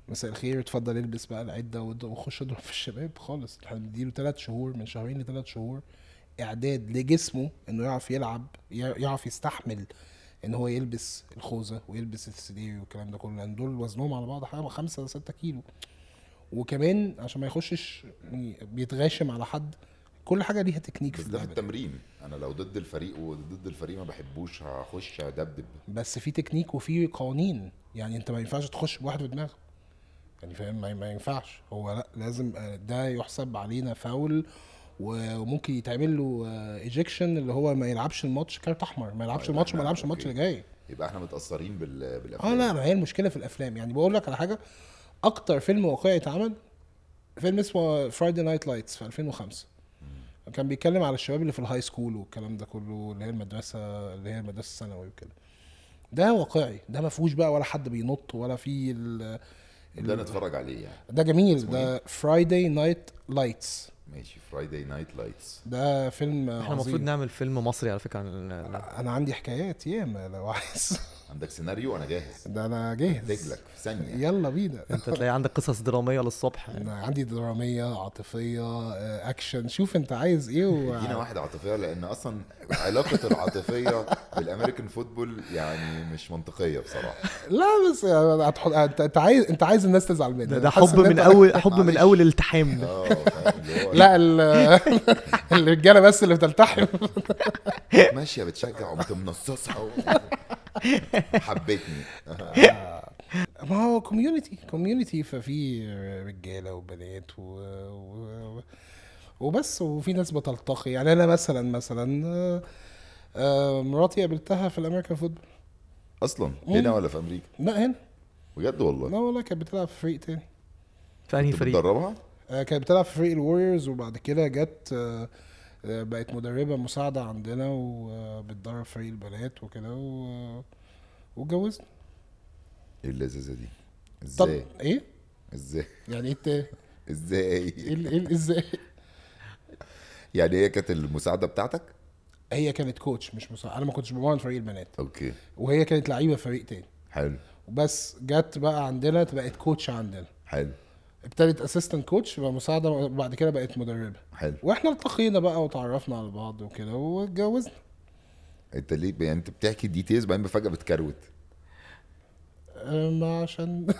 Speaker 1: مساء الخير اتفضل البس بقى العده ود- وخش اضرب في الشباب خالص احنا بنديله ثلاث شهور من شهرين لثلاث شهور اعداد لجسمه انه يعرف يلعب يع- يعرف يستحمل ان هو يلبس الخوذه ويلبس السدير والكلام ده كله لان دول وزنهم على بعض حاجه 5 6 كيلو وكمان عشان ما يخشش ي- بيتغاشم على حد كل حاجه ليها تكنيك
Speaker 3: بس
Speaker 1: في
Speaker 3: ده في
Speaker 1: اللعبه دي.
Speaker 3: التمرين انا لو ضد الفريق وضد الفريق ما بحبوش هخش ادبدب
Speaker 1: بس في تكنيك وفي قوانين يعني انت ما ينفعش تخش بواحد في دماغه يعني فاهم ما ما ينفعش هو لا لازم آه، ده يحسب علينا فاول و- وممكن يتعمل له ايجكشن اللي هو ما يلعبش الماتش كارت احمر ما يلعبش
Speaker 3: آه،
Speaker 1: الماتش
Speaker 3: لا،
Speaker 1: ما يلعبش
Speaker 3: أوكي.
Speaker 1: الماتش اللي جاي
Speaker 3: يبقى احنا متاثرين بال
Speaker 1: اه
Speaker 3: بالافلام
Speaker 1: لا ما هي المشكله في الافلام يعني بقول لك على حاجه اكتر فيلم واقعي اتعمل فيلم اسمه فرايدي نايت لايتس في 2005 كان بيتكلم على الشباب اللي في الهاي سكول والكلام ده كله اللي هي المدرسه اللي هي المدرسه الثانوي وكده ده واقعي ده ما فيهوش بقى ولا حد بينط ولا في ال-
Speaker 3: ده نتفرج عليه يعني
Speaker 1: ده جميل
Speaker 3: اسمه
Speaker 1: ده فرايداي نايت لايتس
Speaker 3: ماشي فرايداي نايت لايتس
Speaker 1: ده فيلم
Speaker 2: احنا المفروض
Speaker 1: عظيم
Speaker 2: نعمل فيلم مصري على فكره عن ال-
Speaker 1: انا عندي حكايات ياما لو عايز
Speaker 3: عندك سيناريو انا جاهز
Speaker 1: ده انا
Speaker 3: رجلك
Speaker 1: جاهز
Speaker 3: في ثانيه
Speaker 1: يلا بينا
Speaker 2: انت تلاقي عندك قصص دراميه للصبح يعني.
Speaker 1: انا عندي دراميه عاطفيه آه، اكشن شوف انت عايز ايه
Speaker 3: ادينا
Speaker 1: و...
Speaker 3: واحده عاطفيه لان اصلا علاقه العاطفيه بالامريكان فوتبول يعني مش منطقيه بصراحه
Speaker 1: لا بس يعني هتحط انت انت عايز انت عايز الناس تزعل منك
Speaker 2: ده,
Speaker 1: أنا
Speaker 2: ده
Speaker 1: حاسس
Speaker 2: حب
Speaker 1: إن
Speaker 2: من
Speaker 1: أنت-
Speaker 2: اول حب من
Speaker 3: معلش.
Speaker 2: اول التحام ده
Speaker 3: اه فاهم؟ اللي هو
Speaker 1: لا ال... الرجاله بس اللي بتلتحم
Speaker 3: ماشيه بتشجع قمت منصصها و- حبتني
Speaker 1: آه. ما هو كوميونتي كوميونتي ففي رجاله وبنات و... و... وبس وفي ناس بتلتقي يعني انا مثلا مثلا آه، آه، مراتي قابلتها في الامريكان فوتبول
Speaker 3: اصلا هنا ولا في امريكا
Speaker 1: لا هنا
Speaker 3: بجد والله
Speaker 1: لا والله كانت بتلعب في فريق تاني
Speaker 2: في انهي
Speaker 3: انت
Speaker 2: فريق؟
Speaker 3: بتدربها
Speaker 1: آه، كانت بتلعب في فريق الوريورز وبعد كده جت آه، آه، بقت مدربه مساعده عندنا وبتدرب فريق البنات وكده و- آه، واتجوزنا
Speaker 3: ايه اللذاذه دي
Speaker 1: طب
Speaker 3: ازاي
Speaker 1: ايه؟
Speaker 3: ازاي
Speaker 1: يعني ايه التا-
Speaker 3: ازاي
Speaker 1: إيه ايه ال- إيه ال- ازاي؟
Speaker 3: يعني هي كانت المساعده بتاعتك
Speaker 1: هي كانت كوتش مش مساعد انا ما كنتش بمرن فريق البنات
Speaker 3: اوكي
Speaker 1: وهي كانت لعيبه في فريق تاني
Speaker 3: حلو
Speaker 1: بس جت بقى عندنا بقت كوتش عندنا
Speaker 3: حلو
Speaker 1: ابتدت اسيستنت كوتش بقى مساعده وبعد كده بقت مدربه
Speaker 3: حلو
Speaker 1: واحنا التقينا بقى وتعرفنا على بعض وكده واتجوزنا
Speaker 3: انت ليه يعني انت بتحكي ديتيلز بعدين فجاه بتكروت
Speaker 1: أم، آه، عشان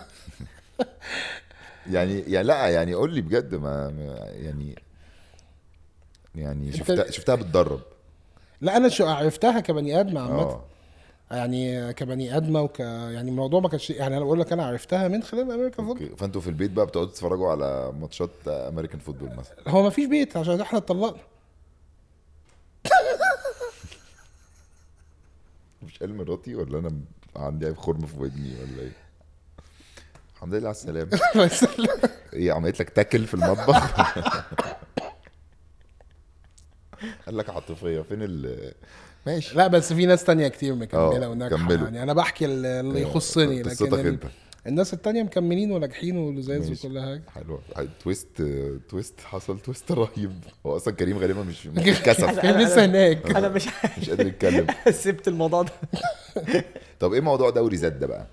Speaker 3: يعني يعني لا يعني قول لي بجد ما ما- يعني يعني
Speaker 1: انت-
Speaker 3: شفتها شفتها بتدرب
Speaker 1: لا انا شو عرفتها كبني ادم عامه
Speaker 3: اه
Speaker 1: يعني كبني ادمه وك يعني الموضوع ما كانش يعني انا بقول لك انا عرفتها من خلال امريكا فوتبول
Speaker 3: اوكي فانتوا في البيت بقى بتقعدوا تتفرجوا على ماتشات امريكان فوتبول مثلا
Speaker 1: هو ما فيش بيت عشان احنا اتطلقنا
Speaker 3: مش قال مراتي ولا انا عندي خرم في ودني ولا ايه الحمد لله على السلامه
Speaker 1: بس
Speaker 3: ايه عملت لك تاكل في المطبخ قال لك عاطفيه فين ال ماشي
Speaker 1: لا بس في ناس تانية كتير مكمله
Speaker 3: اه،
Speaker 1: وناجحه
Speaker 3: كملوا. آه،
Speaker 1: يعني انا بحكي اللي اللي يخصني
Speaker 3: قصتك
Speaker 1: لكن ال-
Speaker 3: انت
Speaker 1: الناس التانية مكملين وناجحين ولزاز
Speaker 3: ماشي.
Speaker 1: وكل حاجه
Speaker 3: حلو تويست تويست حصل تويست رهيب هو اصلا كريم غالبا مش مش كسف
Speaker 1: كان لسه هناك
Speaker 2: انا مش
Speaker 3: مش قادر يتكلم
Speaker 2: سبت الموضوع ده
Speaker 3: طب ايه موضوع دوري زد ده بقى؟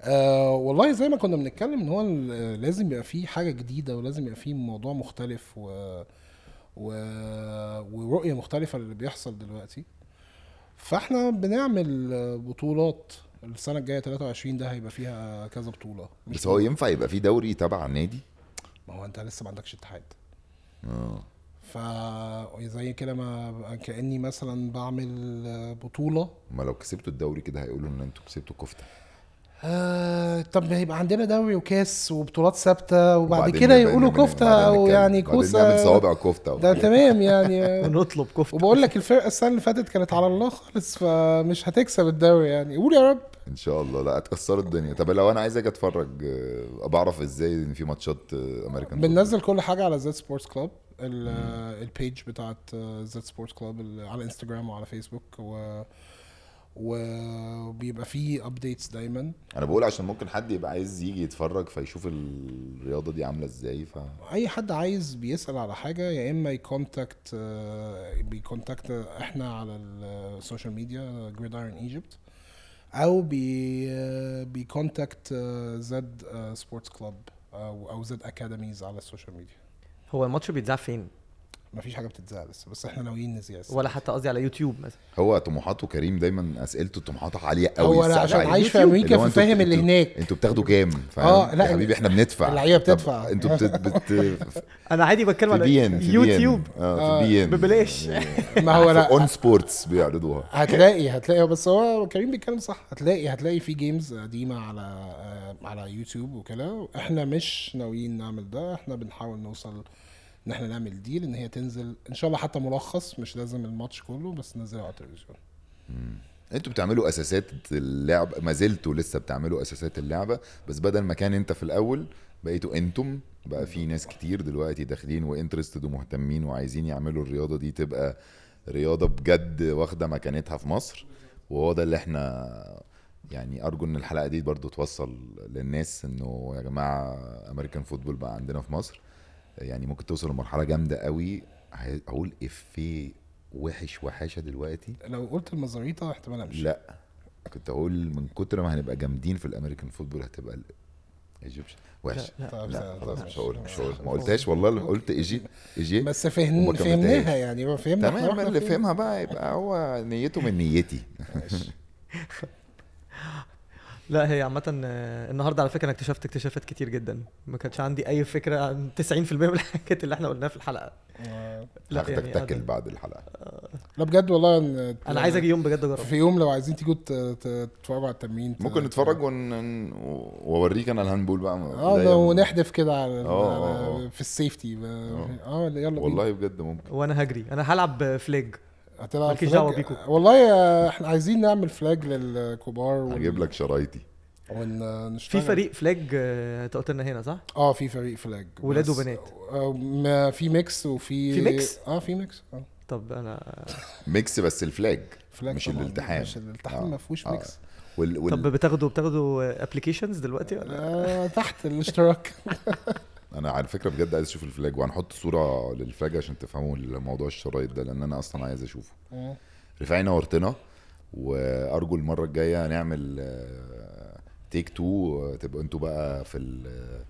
Speaker 1: آه والله زي ما كنا بنتكلم ان هو ال- لازم يبقى فيه حاجه جديده ولازم يبقى فيه موضوع مختلف و... و... ورؤيه مختلفه للي بيحصل دلوقتي فاحنا بنعمل آه، بطولات السنه الجايه 23 ده هيبقى فيها كذا بطوله
Speaker 3: بس هو ينفع يبقى في دوري تبع النادي؟
Speaker 1: ما هو انت لسه ما عندكش اتحاد
Speaker 3: اه
Speaker 1: ف زي كده ما كاني مثلا بعمل آه، بطوله
Speaker 3: ما لو كسبتوا الدوري كده هيقولوا ان انتوا كسبتوا كفته
Speaker 1: آه طب ما هيبقى عندنا دوري وكاس وبطولات ثابته وبعد
Speaker 3: وبعدين
Speaker 1: كده
Speaker 3: نبقى-
Speaker 1: يقولوا
Speaker 3: نبقى-
Speaker 1: كفته
Speaker 3: بعدين
Speaker 1: او
Speaker 3: نتكلم.
Speaker 1: يعني
Speaker 3: بعدين
Speaker 1: كوسه
Speaker 3: نعمل صوابع كفته
Speaker 1: ده
Speaker 3: وحاجات.
Speaker 1: تمام يعني
Speaker 2: ونطلب كفته
Speaker 1: وبقول لك الفرقه السنه اللي فاتت كانت على الله خالص فمش هتكسب الدوري يعني قول يا رب
Speaker 3: ان شاء الله لا هتكسروا الدنيا طب لو انا عايز اجي اتفرج آه، ابقى اعرف ازاي ان في ماتشات آه، امريكان
Speaker 1: بننزل كل حاجه على زد سبورتس كلاب البيج بتاعت آه، زد سبورتس كلاب على انستجرام وعلى فيسبوك و وبيبقى فيه ابديتس دايما
Speaker 3: فوتبول؟ انا بقول عشان ممكن حد يبقى عايز يجي يتفرج فيشوف الرياضه دي عامله ازاي ف
Speaker 1: اي حد عايز بيسال على حاجه يا اما يكونتاكت آه، بيكونتاكت احنا على السوشيال ميديا جريد ايرون ايجيبت او بي آه، بيكونتاكت آه، زد آه، سبورتس كلاب او او زد اكاديميز على السوشيال ميديا
Speaker 2: هو الماتش بيتذاع فين
Speaker 1: مفيش حاجه بتتذاع لسه بس احنا ناويين نذيع السنة.
Speaker 2: ولا حتى قصدي على يوتيوب مثلا
Speaker 3: هو طموحاته كريم دايما اسئلته طموحاته عاليه قوي
Speaker 1: هو أنا
Speaker 3: السقف
Speaker 1: عشان
Speaker 3: عالي.
Speaker 1: عايش في
Speaker 3: اللي
Speaker 1: أمريكا
Speaker 3: هو
Speaker 1: ففاهم
Speaker 3: انتوا-
Speaker 1: اللي
Speaker 3: انتوا-
Speaker 1: هناك.
Speaker 3: انتوا بتاخدوا كام فاهم؟
Speaker 1: آه، لا،
Speaker 3: يا حبيبي احنا بندفع
Speaker 1: اللعيبه
Speaker 3: طب
Speaker 1: بتدفع.
Speaker 3: انتوا بت... بت...
Speaker 2: انا عادي بتكلم
Speaker 3: في
Speaker 2: على
Speaker 3: بي ان
Speaker 2: يوتيوب
Speaker 3: اه في بي ان
Speaker 2: ببلاش
Speaker 1: ما هو لا
Speaker 3: اون سبورتس بيعرضوها
Speaker 1: هتلاقي هتلاقي بس هو كريم بيتكلم صح هتلاقي هتلاقي في جيمز قديمه على آه، على يوتيوب وكده احنا مش ناويين نعمل ده احنا بنحاول نوصل ان احنا نعمل دي لان هي تنزل ان شاء الله حتى ملخص مش لازم الماتش كله بس ننزله على التلفزيون
Speaker 3: انتوا بتعملوا اساسات اللعب ما زلتوا لسه بتعملوا اساسات اللعبه بس بدل ما كان انت في الاول بقيتوا انتم بقى في ناس كتير دلوقتي داخلين وانترستد ومهتمين وعايزين يعملوا الرياضه دي تبقى رياضه بجد واخده مكانتها في مصر وهو ده اللي احنا يعني ارجو ان الحلقه دي برضو توصل للناس انه يا جماعه امريكان فوتبول بقى عندنا في مصر يعني ممكن توصل لمرحله جامده قوي ه- هقول افيه وحش وحاشه دلوقتي
Speaker 1: لو قلت المزاريطه احتمال امشي
Speaker 3: لا كنت اقول من كتر ما هنبقى جامدين في الامريكان فوتبول هتبقى ال- ايجيبشن وحش
Speaker 2: لا،
Speaker 1: طب
Speaker 3: لا
Speaker 1: لا،
Speaker 3: خلاص
Speaker 1: طب
Speaker 3: مش هقول مش هقول ما
Speaker 2: خلاص.
Speaker 3: قلتهاش والله لما قلت ايجي ايجي
Speaker 1: بس فهن
Speaker 3: وما كملتهاش.
Speaker 1: فهمناها يعني هو فهمنا إحنا
Speaker 3: تمام
Speaker 1: رحنا
Speaker 3: اللي
Speaker 1: فين.
Speaker 3: فهمها بقى يبقى هو نيته من نيتي
Speaker 2: لا هي عامة آه، النهارده على فكرة انا اكتشفت اكتشافات كتير جدا ما كانش عندي أي فكرة عن 90% من الحاجات اللي احنا قلناها في الحلقة
Speaker 1: آه.
Speaker 2: لا يعني
Speaker 3: هاخدك تاكل
Speaker 2: أنا-
Speaker 3: بعد الحلقه
Speaker 1: لا بجد والله إن-
Speaker 2: انا عايز اجي يوم بجد اجرب
Speaker 1: في يوم لو عايزين تيجوا ت- ت- تتفرجوا على التمرين ت-
Speaker 3: ممكن نتفرج ون... ون- واوريك انا الهاندبول بقى
Speaker 1: اه
Speaker 3: لا،
Speaker 1: ده ونحدف كده على
Speaker 3: آه، آه، آه.
Speaker 1: على- في السيفتي ب- اه يلا بينا
Speaker 3: والله بجد ممكن
Speaker 2: وانا هجري انا هلعب فليج
Speaker 1: هتلعب
Speaker 2: مالكيش
Speaker 1: فلاج
Speaker 2: دعوة بيكوا.
Speaker 1: والله يا- احنا عايزين نعمل فلاج للكبار ون-
Speaker 3: هجيب لك شرايطي
Speaker 2: في
Speaker 1: ونشتغل
Speaker 2: فريق فليج آه، انت قلت لنا هنا صح؟
Speaker 1: اه في فريق فلاج
Speaker 2: ولاد
Speaker 1: بس-
Speaker 2: وبنات.
Speaker 1: آه، ما في ميكس وفي
Speaker 2: في ميكس؟
Speaker 1: اه في ميكس اه
Speaker 2: طب انا
Speaker 3: ميكس بس الفلاج
Speaker 1: فلاج
Speaker 3: مش
Speaker 1: طبعاً.
Speaker 3: الالتحام.
Speaker 1: مش الالتحام
Speaker 3: آه،
Speaker 1: ما فيهوش
Speaker 3: آه.
Speaker 1: ميكس
Speaker 3: وال... وال...
Speaker 2: طب بتاخدوا بتاخدوا ابلكيشنز دلوقتي ولا
Speaker 1: آه تحت الاشتراك
Speaker 3: انا على فكره بجد عايز اشوف الفلاج وهنحط صوره للفلاج عشان تفهموا الموضوع الشرايط ده لان انا اصلا عايز اشوفه
Speaker 1: مم.
Speaker 3: رفعنا ورطنا وارجو المره الجايه نعمل آه، تيك تو تبقوا آه، انتوا بقى في ال- آه،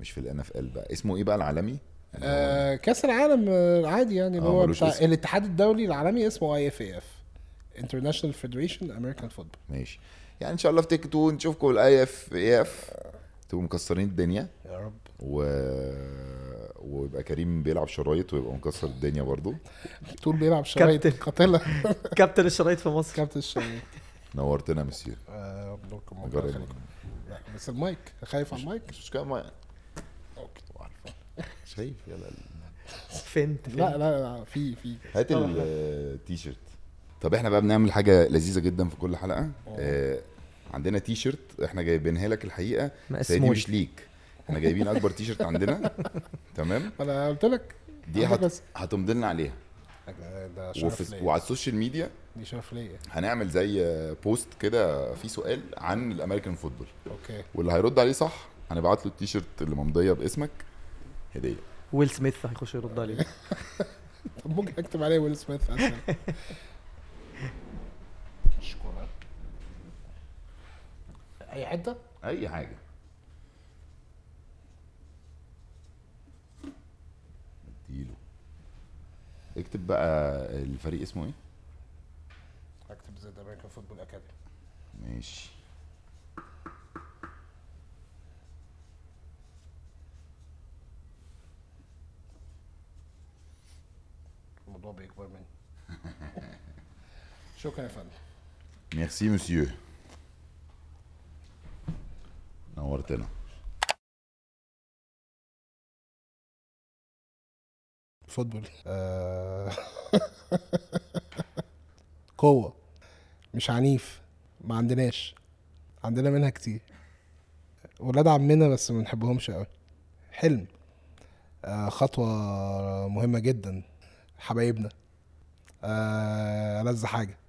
Speaker 3: مش في الان اف ال بقى اسمه ايه بقى العالمي؟
Speaker 1: آه كاس العالم آه، عادي يعني اللي
Speaker 3: آه،
Speaker 1: هو
Speaker 3: ملوش
Speaker 1: بتاع
Speaker 3: اسم.
Speaker 1: الاتحاد الدولي العالمي اسمه اي اف اي اف انترناشونال فيدريشن امريكان فوتبول
Speaker 3: ماشي يعني ان شاء الله في تيك تو نشوفكم الاي اف اي اف تبقوا مكسرين الدنيا
Speaker 1: يا رب
Speaker 3: و... ويبقى كريم بيلعب شرايط ويبقى مكسر الدنيا برضو
Speaker 1: طول بيلعب شرايط
Speaker 2: كابتن.
Speaker 1: قاتله
Speaker 2: كابتن الشرايط في مصر
Speaker 1: كابتن الشرايط
Speaker 3: نورتنا يا مسيو
Speaker 1: آه، ربكم ربنا
Speaker 3: مجرد
Speaker 1: يخليكم. لا، بس المايك خايف على المايك
Speaker 3: مش مشكله ما
Speaker 1: أوكي.
Speaker 3: شايف يلا
Speaker 2: فين
Speaker 1: لا لا لا في في
Speaker 3: هات التيشيرت طب احنا بقى بنعمل حاجه لذيذه جدا في كل حلقه آه عندنا تيشيرت احنا جايبينها لك الحقيقه بس هي دي
Speaker 2: مقسمولي.
Speaker 3: مش ليك احنا جايبين اكبر تيشيرت عندنا تمام
Speaker 1: ما انا قلت لك
Speaker 3: دي
Speaker 1: عندك
Speaker 3: هت...
Speaker 1: بس.
Speaker 3: هتمضي لنا عليها
Speaker 1: ده- ده شرف
Speaker 3: وفي...
Speaker 1: ليا
Speaker 3: وعلى السوشيال ميديا
Speaker 1: دي شرف ليا
Speaker 3: هنعمل زي آه، بوست كده فيه سؤال عن الامريكان فوتبول
Speaker 1: اوكي
Speaker 3: واللي هيرد عليه صح هنبعت له التيشيرت اللي ممضيه باسمك هديه
Speaker 2: ويل سميث هيخش يرد عليه
Speaker 1: طب ممكن اكتب عليه ويل سميث اسهل شكرا اي حته
Speaker 3: اي حاجه اديله اكتب بقى الفريق اسمه ايه
Speaker 1: اكتب زي امريكان فوتبول اكاديمي
Speaker 3: ماشي
Speaker 1: الموضوع بيكبر مني شكرا يا فندم
Speaker 3: ميرسي مسيو نورتنا
Speaker 1: فوتبول قوة مش عنيف ما عندناش عندنا منها كتير ولاد عمنا بس ما بنحبهمش قوي حلم آه، خطوة مهمة جدا حبايبنا آه، ألذ حاجة